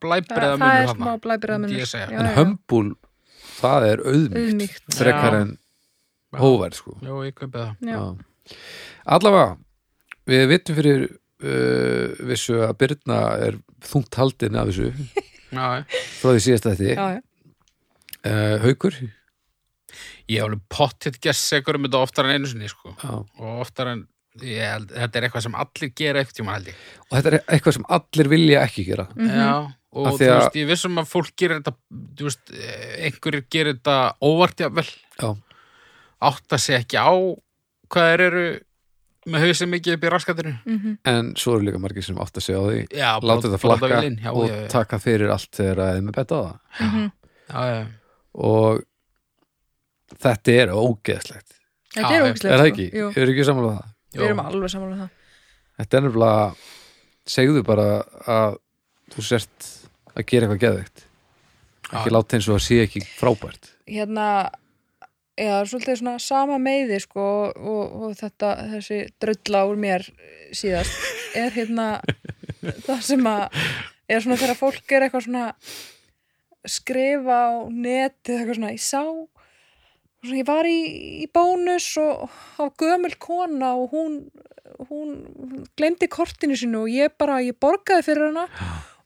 Speaker 1: það
Speaker 3: blæbreða
Speaker 1: er
Speaker 3: munur
Speaker 1: smá
Speaker 3: hana
Speaker 1: blæbirðamunur.
Speaker 3: Myndi ég segja.
Speaker 2: En hömbul, það er auðmygt
Speaker 1: Auðmýkt.
Speaker 2: Frekar
Speaker 3: Já.
Speaker 2: en hóværð sko
Speaker 3: Jó, ég kaupi það
Speaker 1: Já.
Speaker 2: Já. Allavega Við vittum fyrir uh, vissu að Birna er þungt haldin af þessu
Speaker 3: Já, já.
Speaker 2: frá því síðast þetta
Speaker 1: Já, já.
Speaker 2: uh, Haukur
Speaker 3: Ég hef alveg pottitt gess segur um þetta oftar en einu sinni sko.
Speaker 2: Já.
Speaker 3: og oftar en ég held, þetta er eitthvað sem allir gera eitthvað tíma held ég
Speaker 2: Og þetta er eitthvað sem allir vilja ekki gera
Speaker 1: Mhm.
Speaker 3: Já, og
Speaker 2: Af
Speaker 3: þú
Speaker 2: því að-
Speaker 3: veist, ég vissum að fólk gerir þetta þú veist, eh, einhverjir gerir þetta óvart jafnvel,
Speaker 2: Já,
Speaker 3: átta sig ekki á hvað þeir eru með hausið mikið upp í raskatinu
Speaker 1: Mhm.
Speaker 2: en svo eru líka margir sem átt að segja á því
Speaker 3: Já,
Speaker 2: Láta þetta
Speaker 3: blóta
Speaker 2: flakka
Speaker 3: vel inn, já,
Speaker 2: og
Speaker 3: já, já.
Speaker 2: taka fyrir allt þegar að þeim er betta á það
Speaker 1: Mhm.
Speaker 3: Já, já.
Speaker 2: og þetta er ógeðslegt
Speaker 1: Þetta
Speaker 3: Já,
Speaker 1: er
Speaker 3: já.
Speaker 1: ógislegt.
Speaker 2: er það ekki?
Speaker 1: Jú,
Speaker 2: Ég er ekki sammála um það
Speaker 1: við erum alveg samanlega það.
Speaker 2: þetta er nefnilega segðu bara að þú sért að gera eitthvað geðveikt ekki
Speaker 3: Já.
Speaker 2: láta eins og það sé ekki frábært
Speaker 1: Hérna, já, svolítið svona sama meiði, sko, og, og þetta, þessi drölla úr mér síðast er hérna það sem að er svona þegar fólk er eitthvað svona skrifa á netið eitthvað svona, ég sá svona, ég var í, í bónus og á gömul kona og hún, hún glemdi kortinu sínu og ég bara, ég borgaði fyrir hana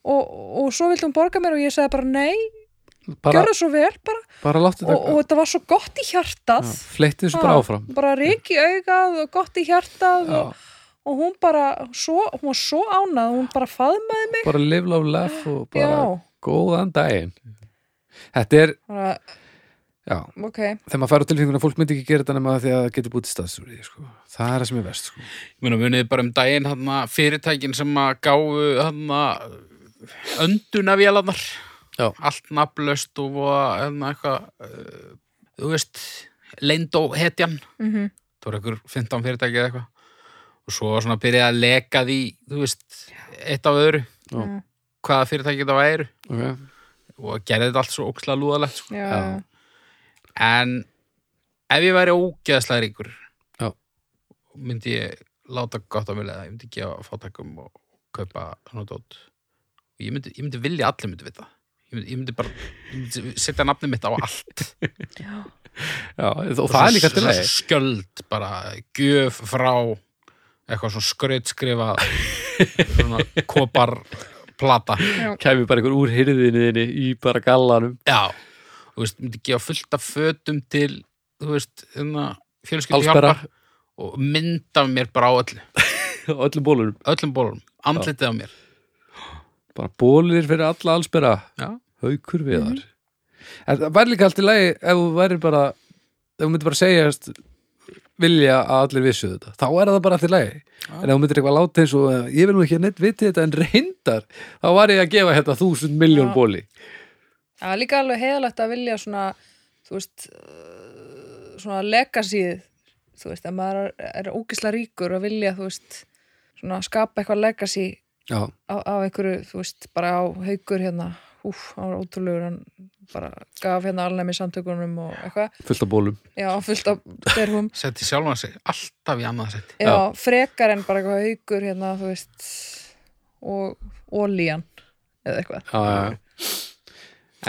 Speaker 1: og, og svo vildi hún borga mér og ég sagði bara nei,
Speaker 2: bara,
Speaker 1: gjörðu svo vel bara
Speaker 2: bara láttu
Speaker 1: og, og
Speaker 2: þetta
Speaker 1: þetta var svo gott í hjartað
Speaker 2: fleitti þessu bara
Speaker 1: Já,
Speaker 2: áfram
Speaker 1: bara rík í augað og gott í hjartað
Speaker 2: Já,
Speaker 1: og, og hún bara svo, hún var svo ánað hún bara faðmaði mig
Speaker 2: bara live, love, laugh og bara
Speaker 1: já,
Speaker 2: góðan daginn þetta er,
Speaker 1: bara,
Speaker 2: já,
Speaker 1: ok,
Speaker 2: þegar maður fær á tilfenguna fólk myndi ekki gera þetta nema því að það getur búið til staðsúri sko. það er það sem er verst sko.
Speaker 3: Ég meina, munið þið bara um daginn hann fyrirtækin sem að gáfu hann öndunavélarnar
Speaker 2: Já.
Speaker 3: allt nafnlaust og hann eitthvað eh, þú veist, leynd og hetjan
Speaker 1: mhm
Speaker 3: það voru einhver 15 fyrirtæki eða eitthvað og svo var svona byrjaði að leka því þú veist, eitt af öðru
Speaker 2: Já.
Speaker 3: hvaða fyrirtæki þetta væri
Speaker 2: okay.
Speaker 3: og gerði þetta allt svo ókslega lúðalegt sko.
Speaker 1: já,
Speaker 2: Já.
Speaker 3: en ef ég væri ógeðslega ríkur
Speaker 2: Já.
Speaker 3: myndi ég láta gott á mig leða, ég myndi gefa fátækum og kaupa svona dót og ég myndi, ég myndi vilja að allir myndi vita ég myndi, ég myndi bara ég myndi setja nafnið mitt á allt
Speaker 2: já, *laughs* og það er líka til
Speaker 3: Svona
Speaker 2: leið
Speaker 3: skjöld bara gjöf frá eitthvað
Speaker 2: *laughs*
Speaker 3: svona skrautskrifa svona kopar plata
Speaker 2: kæmi bara einhver úr hyrðinni í bara gallanum
Speaker 3: Já, þú veist, myndi gefa fullt af fötum til, þú veist, hérna, fjölskyldu
Speaker 2: Allsbera.
Speaker 3: hjálpar og mynd af mér bara á öllu,
Speaker 2: og öllum bólunum,
Speaker 3: öllum bólum, andlitið á mér.
Speaker 2: bara bólir fyrir alla allsbera,
Speaker 3: Já. Mhm.
Speaker 2: haukur við þar en það væri líka allt í lagi ef þú væri bara ef þú myndir bara segjast vilja að allir vissu þetta, þá er það bara allt í lagi
Speaker 3: Já.
Speaker 2: en ef þú myndir eitthvað láta eins og eh, ég vil nú ekki að neitt viti þetta en reyndar þá var ég að gefa hérna þúsund miljón
Speaker 1: Já.
Speaker 2: bóli
Speaker 1: það er líka alveg heðalegt að vilja svona þú veist uh, svona legacyð þú veist, að maður er ógisla ríkur að vilja, þú veist, svona skapa eitthvað legacy
Speaker 2: já,
Speaker 1: af, af einhverju, þú veist, bara á haukur hérna, úf, hann var ótrúlegur hann bara gaf hérna alnæmi samtökunum og eitthvað,
Speaker 2: fullt af bólum
Speaker 1: já, fullt af derhum
Speaker 3: Setti sjálfan sig alltaf í annað seti.
Speaker 1: já, frekar en bara eitthvað haukur hérna, þú veist og ólíjan eða eitthvað
Speaker 2: já, já.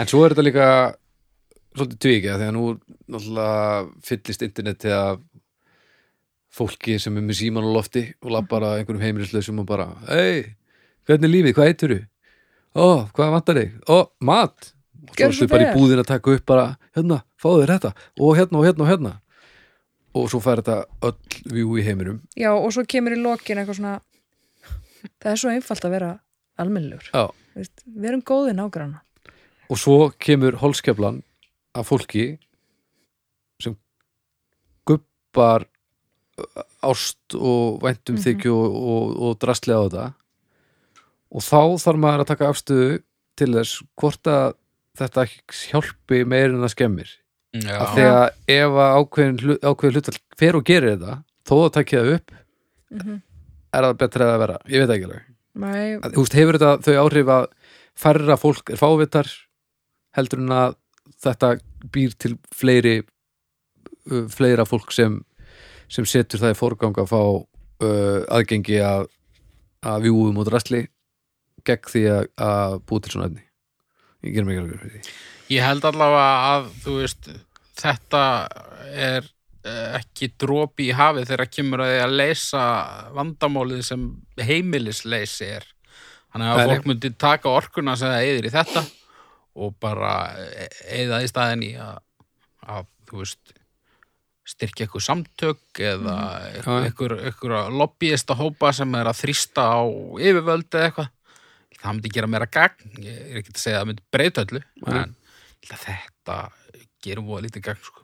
Speaker 2: En svo er þetta líka svolítið tvíkja þegar nú náttúrulega fyllist internetið af fólki sem er með síman á lofti og labbar að einhverjum heimilislausum og bara Hei, hvernig er lífið, hvað heitir þú? Ó, hvað vantar þig? Ó, mat! Og svo
Speaker 1: Gjörðu
Speaker 2: ertu
Speaker 1: svo
Speaker 2: bara í
Speaker 1: vel.
Speaker 2: búðin að taka upp bara hérna, fáðu þér þetta og hérna og hérna og hérna og svo fær þetta öll vjú í heiminum
Speaker 1: já, og svo kemur í lokin eitthvað svona það er svo einfalt að vera almennlegur,
Speaker 2: Já
Speaker 1: Þú veist, við erum góði nágranna
Speaker 2: og svo kemur holskeflan af fólki sem guppar uh, ást og væntum
Speaker 1: Mhm.
Speaker 2: þykju og, og, og drastlega á þetta og þá þarf maður að taka afstöðu til þess hvort að þetta hjálpi meir en það skemmir
Speaker 3: Já,
Speaker 2: af því að ef að ákveðin, hlu- ákveðin hlutal fer og gerir þetta þó að takja það upp
Speaker 1: mm -hmm.
Speaker 2: er það betra eða vera, ég veit ekki alveg
Speaker 1: Nei,
Speaker 2: að, þú veist, hefur þetta þau áhrif að færra fólk er fávitar heldur en að þetta býr til fleiri uh, fleira fólk sem sem setur það í forgang að fá uh, aðgengi að, að vjúum og drasli gegn því að, að búi til svona efni ég gerum ekki alveg fyrir því
Speaker 3: ég held allavega að, þú veist, þetta er eh, ekki dropi í hafið þegar kemur að því að leysa vandamálið sem heimilisleysi er. Þannig
Speaker 2: Nei,
Speaker 3: að
Speaker 2: nei.
Speaker 3: fólk myndi taka orkuna sem það eyðir í þetta og bara e-, eyða í staðin í að, að þú veist, styrkja eitthvað samtök eða
Speaker 2: Já, já.
Speaker 3: eitthvað, eitthvað lobbyista hópa sem er að þrýsta á yfirvöld eða eitthvað. Það myndi gera meira gagn, ég er ekki að segja að það myndi breyta öllu,
Speaker 2: Nei.
Speaker 3: en ég held að þetta gerum voða lítið gagn, sko.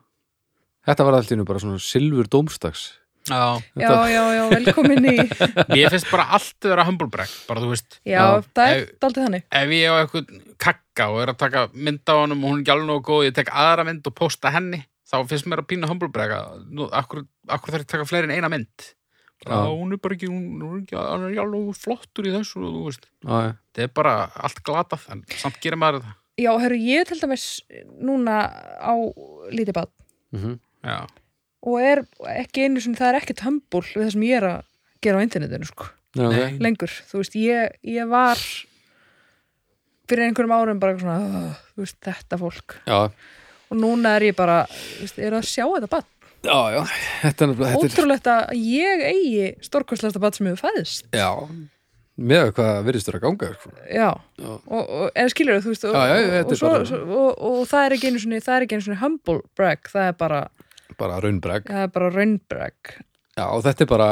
Speaker 2: þetta var alltaf bara svona silfur dómstags
Speaker 3: Já.
Speaker 1: já, já, já, velkomin í
Speaker 3: Mér finnst bara allt vera humblebrag, bara þú veist,
Speaker 1: Já,
Speaker 2: Já.
Speaker 1: það er
Speaker 3: Ef-
Speaker 1: daldið þannig
Speaker 3: ef ég á eitthvað kakka og er að taka mynd á honum og hún er ekki alveg nógu góð, ég tek aðra mynd og posta henni, þá finnst mér að pína humblebrag að nú, akkur, akkur þarf ég að taka fleiri en eina mynd. Já,
Speaker 2: Já.
Speaker 3: hún er bara ekki, hún, hún er ekki, hann er ekki alveg nógu flottur í þessu, þú veist.
Speaker 2: já,
Speaker 3: Það er bara allt glatað, en samt gerir maður þetta.
Speaker 1: Já, herru, ég til dæmis núna á lítið bát
Speaker 2: mm -hmm.
Speaker 3: Já,
Speaker 1: og er ekki einu sem það er ekkert hömbul við það sem ég er að gera á internetinu sko,
Speaker 2: Já, ok.
Speaker 3: Nei.
Speaker 1: lengur þú veist, ég, ég var fyrir einhverjum árum bara eitthvað svona "Ugh", þú veist, þetta fólk
Speaker 2: já,
Speaker 1: og núna er ég bara, þú veist, er að sjá þetta bann,
Speaker 2: já, já Þetta er nefnilega þetta er-
Speaker 1: ótrúlegt að ég eigi stórkostlasta bann sem hefur fæðist
Speaker 2: Já, með hvað virðist þér að ganga sko.
Speaker 1: já,
Speaker 2: Já.
Speaker 1: og, og eða skilur þú veist, og,
Speaker 2: Já, já, já, þetta er
Speaker 1: og, og, svo,
Speaker 2: bara-
Speaker 1: svo, og, og það er ekki einu sinni það er ekki einu sinni humble brag, það er bara
Speaker 2: bara raunbreg
Speaker 1: það er bara raunbrag
Speaker 2: Já, og þetta er bara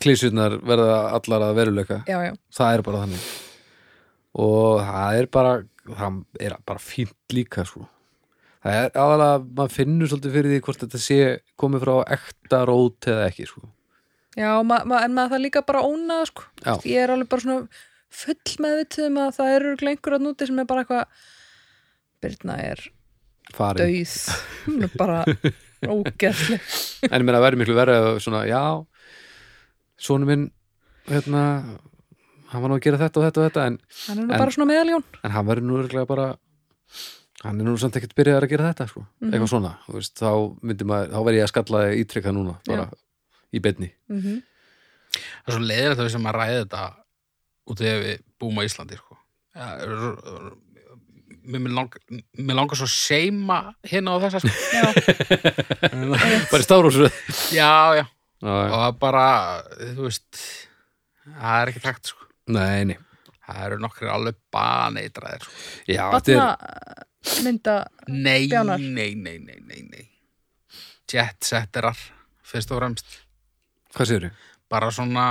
Speaker 2: klísurnar verða allar að veruleika
Speaker 1: já, já,
Speaker 2: það er bara þannig og það er bara það er bara fínt líka sko. það er aðalega maður finnur svolítið fyrir því hvort þetta sé komið frá ekta rót eða ekki sko.
Speaker 1: já ma, ma, en maður það líka bara ónað sko.
Speaker 2: Já.
Speaker 1: ég er alveg bara svona full meðvituð um að það eru lengur að núti sem er bara eitthvað Birna er
Speaker 2: farið,
Speaker 1: dauð hún er bara ógeðsleg
Speaker 2: en ég meina það væri miklu verið svona, já sonu minn hérna, hann var nú að gera þetta og þetta og þetta en,
Speaker 1: hann er nú
Speaker 2: En-
Speaker 1: bara svona meðaljón
Speaker 2: en hann verður nú örugglega bara hann er nú samt ekkert byrjaðar að gera þetta sko. eitthvað svona, þú veist, þá myndi maður þá verði ég að skalla þig ítrekka núna bara í beinni
Speaker 1: mm
Speaker 2: Mhm.
Speaker 3: það er svo leiðilegt að við sem að ræða þetta út af því að við búum á Íslandi sko. Ja, r- r- mér mér lang, mér langar svo að seima hérna á þessa
Speaker 1: *laughs*
Speaker 3: sko.
Speaker 1: já,
Speaker 2: *laughs* bara í stafrósu
Speaker 3: já, já, og
Speaker 2: Nei,
Speaker 3: það er bara þú veist það er ekki takt sko.
Speaker 2: nei
Speaker 3: það eru nokkri alveg baneitræðir sko.
Speaker 2: Já, þetta er,
Speaker 1: batna mynda
Speaker 3: nei,
Speaker 1: Bjánar.
Speaker 3: nei, nei, nei, nei, nei jetsetterar fyrst og fremst
Speaker 2: hvað séu þau?
Speaker 3: bara svona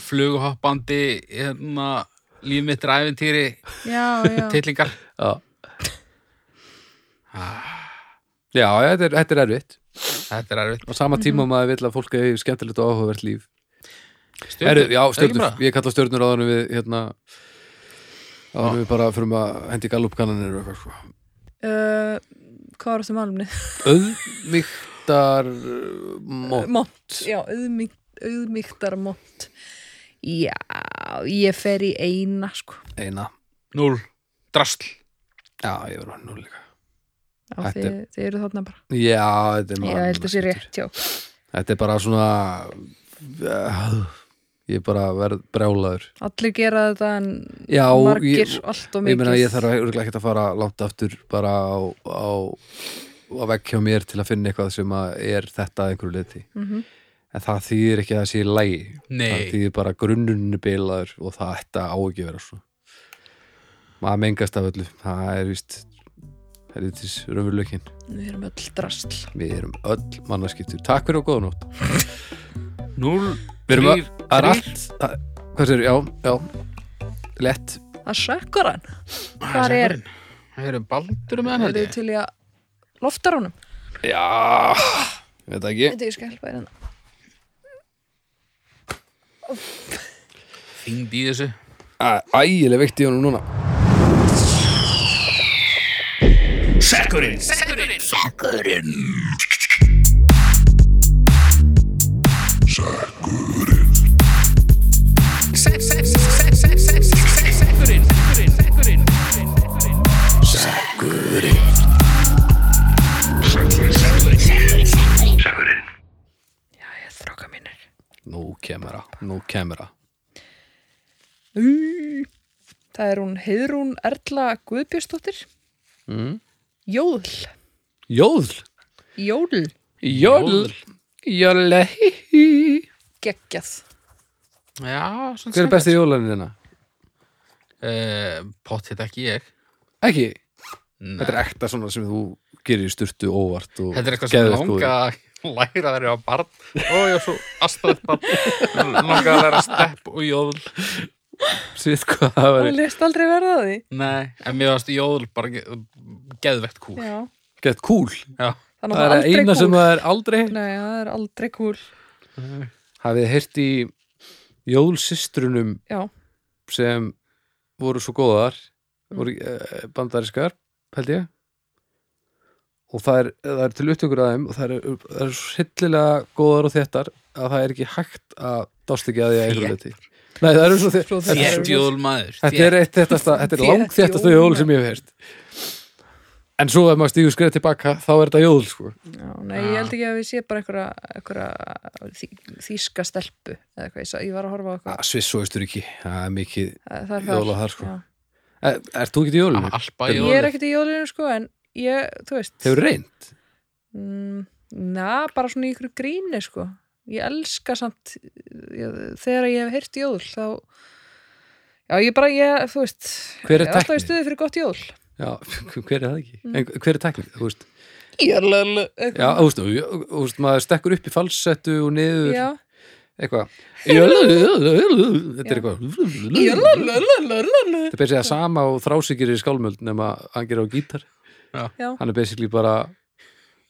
Speaker 3: flughoppandi hérna, líf mitt er æventýri
Speaker 1: já, já,
Speaker 3: tillingar
Speaker 2: Já Já, þetta er, þetta er erfitt
Speaker 3: Ah, þetta er erfitt
Speaker 2: á sama tíma mm maður vill að fólk er skemmtilegt og áhugavert líf
Speaker 3: Stjörnur,
Speaker 2: Heru, Já,
Speaker 3: er ekki
Speaker 2: stjörnur,
Speaker 3: bara?
Speaker 2: ég kalla stjörnur áður en við hérna áður en við bara fyrir að hendi gallupkannanir og eitthvað sko
Speaker 1: Uh, hvað var þetta málumni?
Speaker 2: Öðmygtar eh, mót
Speaker 1: Mott, já, auðmýkt, auðmýktar mott já, ég fer í eina sko
Speaker 2: eina
Speaker 3: núl, drasl
Speaker 2: Já, ég verður nú líka
Speaker 1: Já,
Speaker 2: Þetta
Speaker 1: þið, þið eru þarna bara.
Speaker 2: Já, þetta er
Speaker 1: Ég held að sé rétt, já.
Speaker 2: Þetta er bara svona uh, Ég er bara verð brjálaður
Speaker 1: Allir gera þetta en
Speaker 2: Já,
Speaker 1: margir
Speaker 2: ég,
Speaker 1: allt og mikið.
Speaker 2: Ég meina ég þarf örugglega ekkert að fara langt aftur bara á, á, á vekk hjá mér til að finna eitthvað sem að er þetta að einhverju leiti
Speaker 1: Mhm.
Speaker 2: en það þýðir ekki að það sé í lægi það
Speaker 3: nei,
Speaker 2: þýðir bara grunnunni bilaður og það ætti að á ekki að vera svo maður mengast af öllu það er víst helvitis raunveruleikin
Speaker 1: Við erum öll drastl.
Speaker 2: við erum öll mannarskiptur takk fyrir og góða nótt
Speaker 3: núl
Speaker 2: Við erum að,
Speaker 3: Þrír-
Speaker 2: að
Speaker 3: þrír.
Speaker 2: allt að, hvað sér, já, já lett,
Speaker 1: Það sökkur hann. Hvar er-
Speaker 3: það eru baldur með hann
Speaker 1: Það
Speaker 3: held
Speaker 1: eru
Speaker 3: ég.
Speaker 1: til í að loftar honum.
Speaker 2: já ég veit það ekki
Speaker 1: Þetta ég skal helpa þér hérna.
Speaker 3: þyngd í þessu
Speaker 2: Æ, Ægileg veikt í honum núna
Speaker 1: Já, ég þróka mínir.
Speaker 2: Nú kemur að, nú kemur að
Speaker 1: Það er hún Heiðrún Erla Guðbjörnsdóttir.
Speaker 2: Mm.
Speaker 1: Jóðl.
Speaker 2: Jóðl
Speaker 1: Jóðl.
Speaker 2: Jóðl Jóðle Hver
Speaker 1: Geggjað.
Speaker 3: já,
Speaker 2: er besti jólaninn þina?
Speaker 3: uh, pottitt ekki ég
Speaker 2: Ekki,
Speaker 3: Nei.
Speaker 2: þetta er ekta svona sem þú gerir í sturtu óvart og
Speaker 3: þetta er eitthvað sem
Speaker 2: geðveikt
Speaker 3: langa að læra þegar ég var barn ó, ég var svo astrætt barn langa að læra stepp og jóðl
Speaker 2: góður. Sýtt hvað það
Speaker 1: Það
Speaker 2: væri
Speaker 1: lest aldrei verða að því.
Speaker 3: nei, en mér varst jóðl bara ge- geðvegt kúl
Speaker 1: Já.
Speaker 2: Gett kúl
Speaker 3: já,
Speaker 1: Þannig
Speaker 2: Það
Speaker 1: að
Speaker 2: er
Speaker 1: það aldrei
Speaker 2: eina
Speaker 1: kúl.
Speaker 2: sem það er aldrei
Speaker 1: Nei, það er aldrei kúl.
Speaker 2: Hafið heyrt í jólsystrunum
Speaker 1: Já.
Speaker 2: sem voru svo góðar
Speaker 1: Mm.
Speaker 2: voru uh, bandariskar held ég og það er, það er til upptökur að þeim og það er, það er svo hryllilega góðar og þettar að það er ekki hægt að dást ekki að því að einhverju leti Nei, það eru svo þér
Speaker 1: Svo
Speaker 2: Þetta er-
Speaker 1: þéttar.
Speaker 3: þétt jóðl maður
Speaker 2: þetta er eitt þéttasta, þetta er
Speaker 1: Þétt
Speaker 2: langt þéttasta
Speaker 1: jól.
Speaker 2: jól sem ég hef heyrt en svo ef maður stíður skrið tilbaka þá er þetta jóðl sko
Speaker 1: Já, nei, ég held ekki að við sé bara einhverja, einhverja þý, þýska stelpu eða hvað ég sá, ég var að horfa á eitthvað
Speaker 2: Ah, Sviss og Austuríki, það er mikið
Speaker 1: Það er þar.
Speaker 2: jóla þar sko
Speaker 1: Já.
Speaker 2: er, Ert þú ekki í jólum?
Speaker 3: Alpa í
Speaker 2: Ég
Speaker 1: Ég er
Speaker 3: orðið.
Speaker 1: ekkert í jólinu sko en ég, þú veist
Speaker 2: Hefur reynd?
Speaker 1: mm, Na, bara svona í ykkur gríni sko Ég elska samt ég, þegar ég hef heyrt jól þá Já, ég bara, ég, þú veist
Speaker 2: Hver er
Speaker 1: ég alltaf í
Speaker 2: tæknin?
Speaker 1: stuði fyrir gott jól
Speaker 2: Já, *laughs* hver er það ekki?
Speaker 1: Mm.
Speaker 2: En hver er tæknir? Þú veist,
Speaker 1: Jörlölu
Speaker 2: já, þú veist, þú veist, maður stekkur upp í falsettu og niður
Speaker 1: Já,
Speaker 2: eitthvað Þetta er eitthvað Þetta
Speaker 1: jörlölu
Speaker 2: er beins eða sama og þrásingir í skálmöld nema hann gerir á gítar
Speaker 1: Já,
Speaker 2: hann er basically bara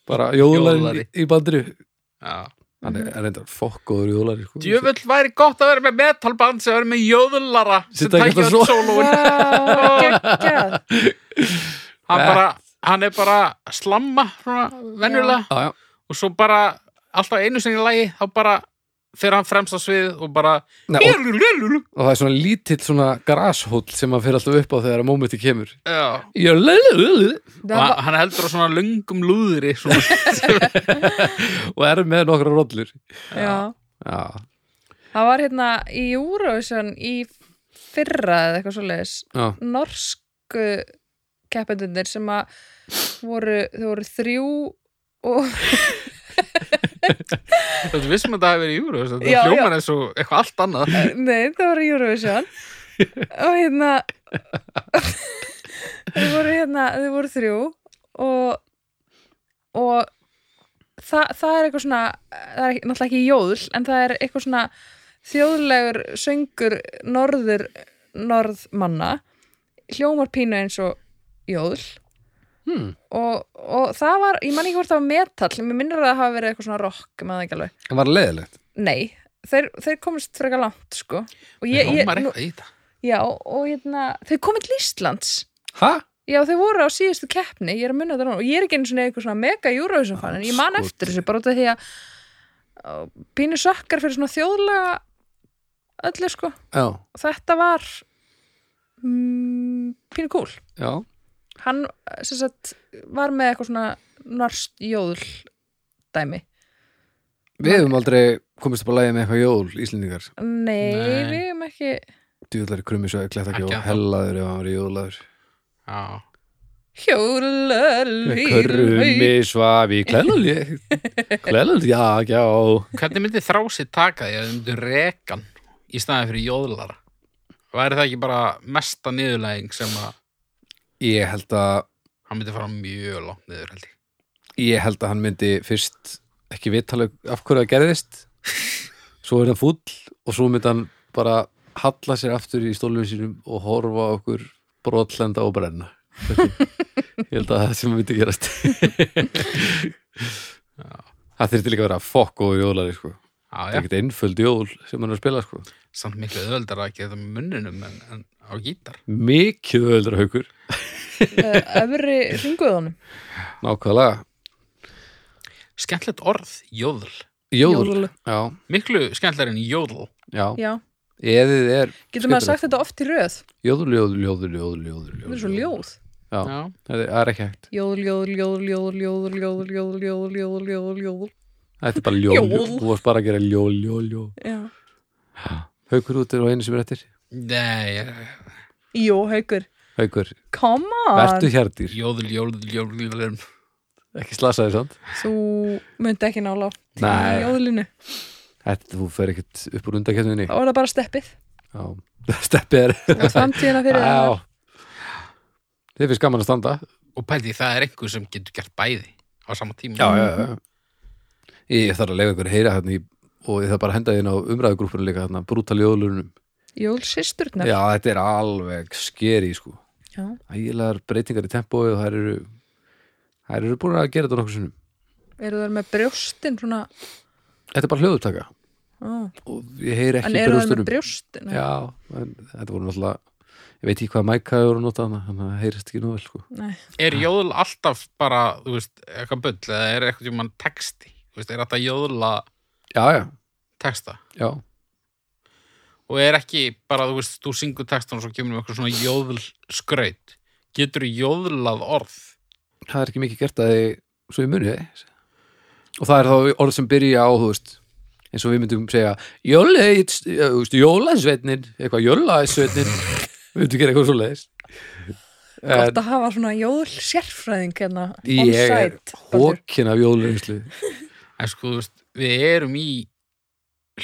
Speaker 2: bara jóðlari
Speaker 3: Jóðlari.
Speaker 2: í bandinu
Speaker 3: Já.
Speaker 2: hann er, er reyndar fokkoður jóðlari sko.
Speaker 3: Djöfull væri gott að vera með metalband sem verið með jöðulara sem
Speaker 2: Sitta ekki alltaf
Speaker 3: tækja öll
Speaker 2: svo.
Speaker 3: sólóin
Speaker 1: Vá, geggjað
Speaker 3: hann,
Speaker 2: Þetta.
Speaker 3: bara, hann er bara að slamma svona, venjulega
Speaker 2: Já, já.
Speaker 3: og svo bara alltaf einu sinni í lagi þá bara fyrir hann fremst á svið og bara
Speaker 2: Nei, og,
Speaker 3: Lulululul.
Speaker 2: og það er svona lítill svona grashóll sem hann fyrir alltaf upp á þegar að mómenti kemur
Speaker 3: Já.
Speaker 2: jóðlari
Speaker 1: Það
Speaker 3: og
Speaker 1: var-
Speaker 3: hann- hann heldur á svona löngum lúðri svona.
Speaker 2: og er með nokkra rollur
Speaker 1: Já,
Speaker 2: já,
Speaker 1: það var hérna í Eurovision í fyrra eða eitthvað svoleiðis
Speaker 2: já,
Speaker 1: norsku keppendunir sem að voru, þau voru þrjú og
Speaker 3: þetta vissum að það hefur verið júru þetta
Speaker 1: Já, já.
Speaker 3: hljómar eins og eitthvað allt annað
Speaker 1: *laughs* nei, það voru Eurovision og hérna *laughs* þau voru hérna, þau voru þrjú og og það, það er eitthvað svona það er ekki- náttúrulega ekki jóðl en það er eitthvað svona þjóðlegur söngur norður norðmanna hljómar pínu eins og jóðl
Speaker 2: Hmm.
Speaker 1: og, og það var, ég man ekki hvort það var metall mér minnir að það hafa verið eitthvað svona rock ég man það ekki alveg.
Speaker 2: það var leiðilegt
Speaker 1: nei, þeir, þeir komist frekar langt sko. og ég, ég,
Speaker 3: hljómar
Speaker 1: nú,
Speaker 3: eitthvað í þetta
Speaker 1: já, og hérna þau komið til Íslands
Speaker 2: ha?
Speaker 1: Já, þau voru á síðustu keppni, ég er að munna þetta núna og ég er ekki einu svona eitthvað svona mega Eurovision fan en ég man
Speaker 2: Andskoti.
Speaker 1: eftir þessu bara út af því að uh, pínu sökkar fyrir svona þjóðlega öllu sko
Speaker 2: já,
Speaker 1: og þetta var mm, pínu cool
Speaker 2: já,
Speaker 1: hann eh, sem sagt var með eitthvað svona norst jóðl dæmi
Speaker 2: við hefum aldrei komist upp að lægja með eitthvað jól íslendingar,
Speaker 1: Nei,
Speaker 3: Nei.
Speaker 1: við hefum ekki
Speaker 2: djúðlari krummi svo kletta ekki
Speaker 3: Ekki
Speaker 2: og
Speaker 3: ennþá.
Speaker 2: hellaður ef hann var jóðlaður
Speaker 3: Já.
Speaker 1: hjólalýr
Speaker 2: Krummi svafi Klælulí Klælulí, já, já
Speaker 3: hvernig myndi þrási taka því að þau myndu rekan í staðin fyrir jóðlara væri það ekki bara mesta niðurlæging sem að
Speaker 2: Ég held að
Speaker 3: hann myndi fara mjög langt niður held ég
Speaker 2: ég held að hann myndi fyrst ekki vitala af hverju það gerðist svo er hann fúll og svo myndi hann bara halla sér aftur í stólunum sínum og horfa á okkur brotlenda og brenna ég held að það sem myndi gerast það þurfti líka að vera fokk og jólari sko. það
Speaker 3: Já,
Speaker 2: er
Speaker 3: já,
Speaker 2: ekkert einföld jól sem hann er að spila sko.
Speaker 3: samt miklu öðvöldar að geta með munninum en, en á gítar
Speaker 2: mikið öldra haukur
Speaker 1: öfri ringuðunum
Speaker 2: nákvæmlega
Speaker 3: skemmtilegt orð, jóðl
Speaker 2: jól, já,
Speaker 3: miklu skemmtilegar en jóðl
Speaker 2: já,
Speaker 1: Já,
Speaker 2: eðið er
Speaker 1: getur maður
Speaker 2: skemmtilegt.
Speaker 1: sagt þetta oft í röð
Speaker 2: Jóðul, jóðul, jóðul, jóðul, jóðul
Speaker 1: Það er svo ljóð
Speaker 2: Já,
Speaker 3: Já.
Speaker 2: það er- það er ekki hægt
Speaker 1: Jóðl, jóðl, jóðl, jóðl, jóðl, jóðl, jóðl, jóðl, jóðl, jóðl, jóðl.
Speaker 2: Þetta er bara ljól,
Speaker 1: Jól.
Speaker 2: ljól. Þú varst bara að gera ljól, ljól, ljól
Speaker 1: Já.
Speaker 2: Haukur út er á einu sem er eftir
Speaker 3: Nei, eh, ég-
Speaker 1: Jó, haukur.
Speaker 2: Haukur,
Speaker 1: Come on.
Speaker 2: vertu hjartir
Speaker 3: jóðl, jóðl, jóðl, jóðl
Speaker 2: Ekki slasaði samt
Speaker 1: Þú myndi ekki nála til
Speaker 2: Nei.
Speaker 1: jóðlinu.
Speaker 2: Þetta, þú fer ekkert upp úr undakefninni
Speaker 1: Þá er það bara steppið.
Speaker 2: Já, *laughs* steppið er
Speaker 1: Þú ert framtíðina fyrir það.
Speaker 2: Já Þið finnst gaman að standa
Speaker 3: og pældi það er einhver sem getur gert bæði á sama tíma
Speaker 2: já, já Ég þarf að lega ykkur að heyra hérna í og ég þarf bara að henda þín á umræðugrúppinu líka þarna, brútal jólunum
Speaker 1: Jól sýsturnar.
Speaker 2: Já, þetta er alveg skeri sko
Speaker 1: Já.
Speaker 2: ægilegar breytingar í tempói og þær eru þær eru búin að gera þetta nokkuð sinnum
Speaker 1: Eru það með brjóstin svona?
Speaker 2: þetta er bara hljóðutaka
Speaker 1: Ó.
Speaker 2: og ég heyri
Speaker 1: En
Speaker 2: ekki
Speaker 1: eru það með
Speaker 2: brjóstunum
Speaker 1: brjóstin?
Speaker 2: já, en þetta voru náttúrulega ég veit ekki hvað mæka eru að nota hana þannig að það heyrist ekki nú vel sko.
Speaker 1: Nei.
Speaker 3: er jóðl alltaf bara, þú veist, eitthvað bull eða er eitthvað tjóman texti þú veist, er þetta jóðla
Speaker 2: já, já,
Speaker 3: texta
Speaker 2: já,
Speaker 3: og er ekki bara, þú veist, þú syngur textan og svo kemur um eitthvað svona jóðl skraut getur jóðlað orð
Speaker 2: það er ekki mikið gert að þið svo ég muni og það er þá orð sem byrja á þú veist, eins og við myndum segja jóla, þú veist, jólasveitnin eitthvað jólasveitnin *laughs* við myndum gera eitthvað svo leiðis
Speaker 1: Gott að hafa svona jól sérfræðing hérna, on
Speaker 2: Eh, ég er
Speaker 1: site Baldur.
Speaker 2: hókin af jólunslu
Speaker 3: en sko, þú veist, við erum í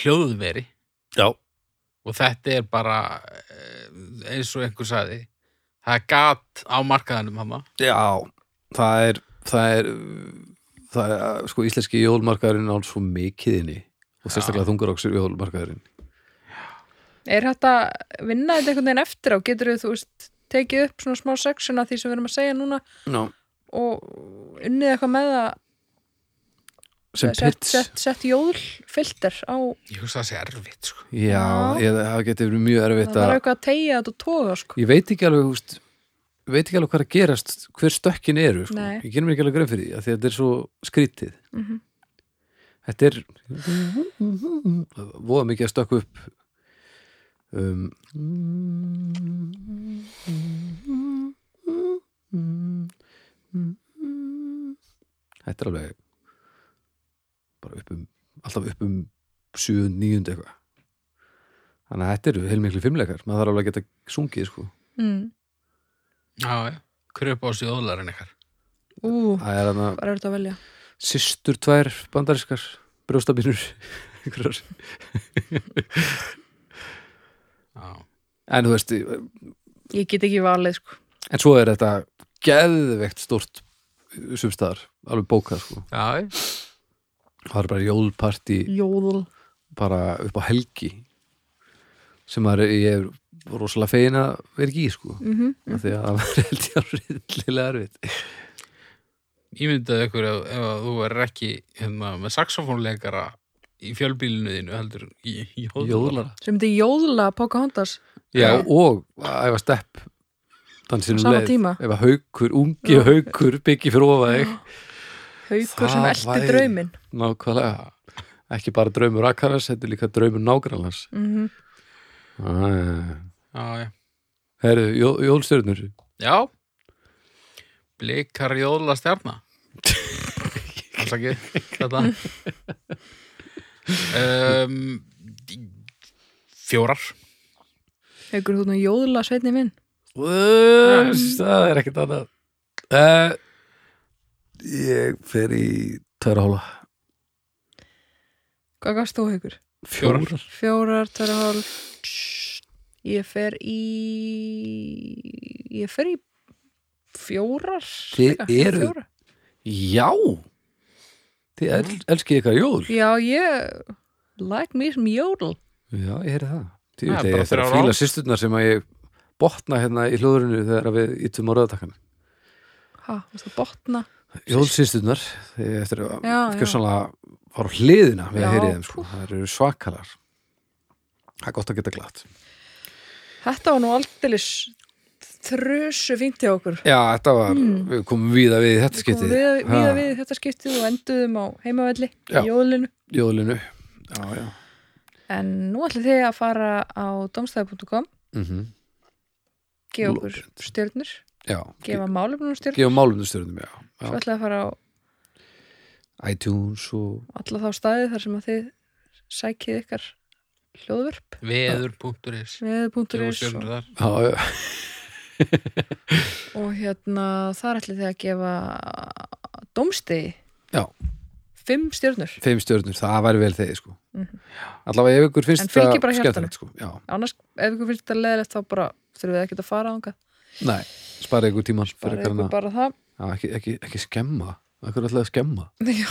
Speaker 3: hljóðveri
Speaker 2: já,
Speaker 3: og þetta er bara eh, eins og einhver sagði það er gat á markaðanum hama
Speaker 2: Já, það er það er, það er sko íslenski jólmarkaðurinn án svo mikið inni og sérstaklega þungaróksir jólmarkaðurinn
Speaker 1: Er hægt að vinna þetta einhvern veginn eftir á? Getur við, þú veist, tekið upp svona smá section af því sem við erum að segja núna
Speaker 2: no.
Speaker 1: og unnið eitthvað með að
Speaker 2: sem
Speaker 1: sett,
Speaker 2: pits
Speaker 1: sett, sett jólfilter á
Speaker 3: ég hugsa það sé erfitt sko.
Speaker 2: Já,
Speaker 1: Já.
Speaker 2: ég, það getur verið mjög erfitt
Speaker 1: það
Speaker 2: að
Speaker 1: er eitthvað að tegja þetta og toga sko.
Speaker 2: ég veit ekki alveg húst, veit ekki alveg hvað er að gerast hver stökkin eru sko.
Speaker 1: Nei.
Speaker 2: ég gerum ekki alveg grein fyrir því af því að þetta er svo skrítið
Speaker 1: Mhm.
Speaker 2: þetta er voða mikið að stökku upp um, þetta er alveg bara upp um alltaf upp um 7, 9 eitthvað þannig að þetta eru heilmiklu fimmleikar maður þarf alveg að geta sungið sko
Speaker 1: mm.
Speaker 3: já, já, kröp á sig óðlarinn ykkar
Speaker 1: Ú,
Speaker 2: Það er hann að
Speaker 1: hvað er þetta að velja?
Speaker 2: systur tvær bandariskar brjóstabínur *laughs* einhverjar.
Speaker 3: já.
Speaker 2: en þú veist en
Speaker 1: Ég get ekki valið sko.
Speaker 2: svo er þetta geðveikt stort sumstaðar, alveg bókað sko
Speaker 3: Já, já.
Speaker 2: það er bara jólparti
Speaker 1: Jóðl
Speaker 2: bara upp á helgi sem maður, ég er rosalega fegin að vera ekki í sko
Speaker 1: mm
Speaker 2: af því að það var held ég að rillilega erfitt
Speaker 3: ég myndaði ykkur ef, ef að þú verður ekki hérna, með saxofónleikara í fjölbílinu þínu heldur í, í jóðlara.
Speaker 2: jólara
Speaker 1: sem þetta jóðla Pocahontas
Speaker 2: Já, og æfa stepp dansinum
Speaker 1: Sama tíma.
Speaker 2: ef að haukur, ungi haukur byggi fyrir ofa þig
Speaker 1: haukur
Speaker 2: Það
Speaker 1: sem eldi
Speaker 2: væri-
Speaker 1: draumin
Speaker 2: Nákvæmlega Ekki bara draumur akkarans, þetta er líka draumur Ah, nágrannans
Speaker 1: mm
Speaker 3: já, já.
Speaker 2: Herðu, jó, jólstjörnur
Speaker 3: já. blikar jóðla stjarna afsakið þetta um, fjórar
Speaker 1: haukur þú nú jóðla sveitni minn
Speaker 2: Það er ekkert annað uh, Ég fer í tæra hóla
Speaker 1: hvað gafst þú haukur?
Speaker 3: Fjórar.
Speaker 1: fjórar, tæra hálf ég fer í ég fer í fjórar
Speaker 2: Þið
Speaker 1: líka,
Speaker 2: eruð-
Speaker 1: fjóra.
Speaker 2: Já Þið el, elskið ykkar jól
Speaker 1: já ég like me some jódl
Speaker 2: Já, ég heyri það Því
Speaker 3: Það
Speaker 2: að
Speaker 3: er bara
Speaker 2: ég þarf
Speaker 3: þrjár
Speaker 2: að fíla
Speaker 3: ár.
Speaker 2: sýsturnar sem að ég botna hérna í hljóðurinu þegar að við yttum á rauðatakkan
Speaker 1: ha, varst það botna
Speaker 2: Jólsýsturnar, þegar eh, eftir að
Speaker 1: Já, já.
Speaker 2: kjössanlega fara á hliðina við að
Speaker 1: Já,
Speaker 2: heyri þeim, sko. það eru svakalar Það er gott að geta glatt
Speaker 1: þetta var nú aldeilis þrösu fínt hjá okkur
Speaker 2: Já, þetta var, við komum víða við í þetta
Speaker 1: Hmm. Við komum
Speaker 2: skiptið
Speaker 1: við, við,
Speaker 2: Ha,
Speaker 1: við í þetta skiptið og enduðum á heimavelli
Speaker 2: Já.
Speaker 1: í jólinu
Speaker 2: Jólinu Já, já
Speaker 1: en nú ætlum þið að fara á domstæði.com
Speaker 2: mm
Speaker 1: gefa okkur
Speaker 2: Lopent.
Speaker 1: stjörnur,
Speaker 2: Já,
Speaker 1: gefa málefnum
Speaker 2: ge-
Speaker 1: stjörnur
Speaker 2: gefa málum stjórnum, já.
Speaker 1: svo
Speaker 2: já
Speaker 1: ætlum þið að fara á
Speaker 2: iTunes og
Speaker 1: alla þá staði þar sem að þið sækið ykkar hljóðverp
Speaker 3: veður.is Gefa
Speaker 1: veður.is
Speaker 3: stjörnur
Speaker 1: og,
Speaker 3: þar.
Speaker 2: já, já,
Speaker 1: og hérna þar ætlum þið að gefa domstæði
Speaker 2: já,
Speaker 1: fimm stjörnur
Speaker 2: fimm stjórnum, það væri vel þeir sko. Allavega ef ykkur
Speaker 1: Mhm. En
Speaker 2: finnst
Speaker 1: fylgi
Speaker 2: það
Speaker 1: bara hjartanu.
Speaker 2: skemmtilegt, sko. Já,
Speaker 1: annars ef ykkur finnst þetta leðilegt þá bara þurfum við ekki að fara ánga
Speaker 2: nei, spara ykkur tíman
Speaker 1: bara ykkur bara það
Speaker 2: Já, ekki, ekki, ekki skemma Akkur ætlaði að skemma
Speaker 1: Já,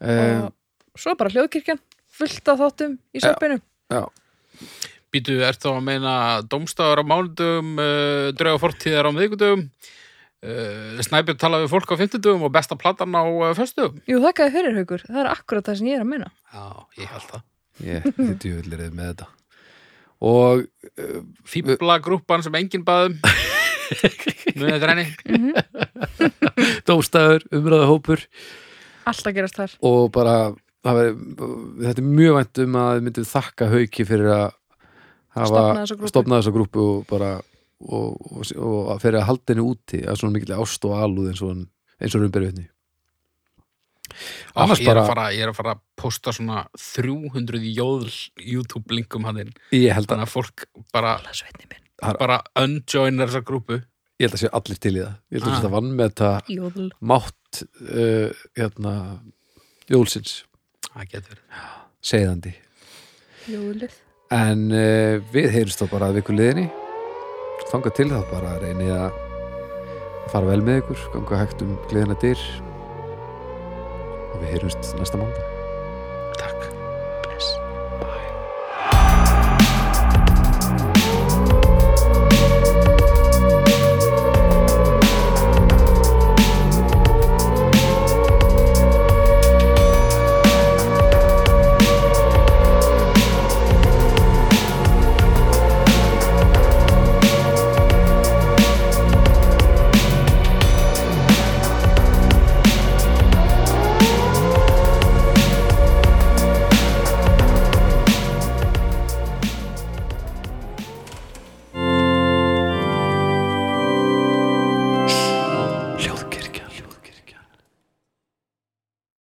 Speaker 2: um,
Speaker 1: og svo bara hljóðkirkjan fullt af þáttum í
Speaker 2: Já.
Speaker 1: sarpinu
Speaker 2: Já,
Speaker 3: Býtu, ert þá að meina domstafur á mánudum, uh, drauga fortíðar á miðgudum, uh, snæpjum tala við fólk á fimmtudum og besta platan á uh, föstudum?
Speaker 1: Jú, þakkaði fyrir haukur, það er akkurat það sem ég er að meina
Speaker 3: Já, ég held það.
Speaker 2: ég,
Speaker 3: *laughs*
Speaker 2: þið djúvillir með þetta Og
Speaker 3: Fýbla grúppan sem enginn baðum. Mjög þetta reyni.
Speaker 2: dómstæður, umræðahópur
Speaker 1: Alltaf gerast þar
Speaker 2: Og bara, það veri, þetta er mjög vænt um að við myndum þakka hauki fyrir að hafa
Speaker 1: Stofna þessa grúppu.
Speaker 2: stofnað þessa grúpu og bara og, og, og fyrir að halda henni úti að svona mikil ást og alúð eins og, hann- eins og raunberðinni
Speaker 3: Ó,
Speaker 2: Annars
Speaker 3: ég, er
Speaker 2: bara-
Speaker 3: að fara, ég er að fara að posta svona 300 jóðl YouTube linkum hann inn
Speaker 2: ég held að,
Speaker 3: þannig að fólk bara,
Speaker 1: Alla sveitni minn.
Speaker 3: bara unjoinar þessa grúpu
Speaker 2: ég held að sé allir til í það ég held að
Speaker 3: Ah.
Speaker 2: ah. þetta vann með þetta
Speaker 1: Jóðl.
Speaker 2: mátt uh, hérna, jólsins
Speaker 3: það getur verið
Speaker 2: segðandi
Speaker 1: Jóðlið.
Speaker 2: en uh, við heyrumst þá bara að viku liðinni þangað til þá bara reynið að fara vel með ykkur ganga hægt um gleðina dyr og við heyrumst næsta mánudag
Speaker 3: takk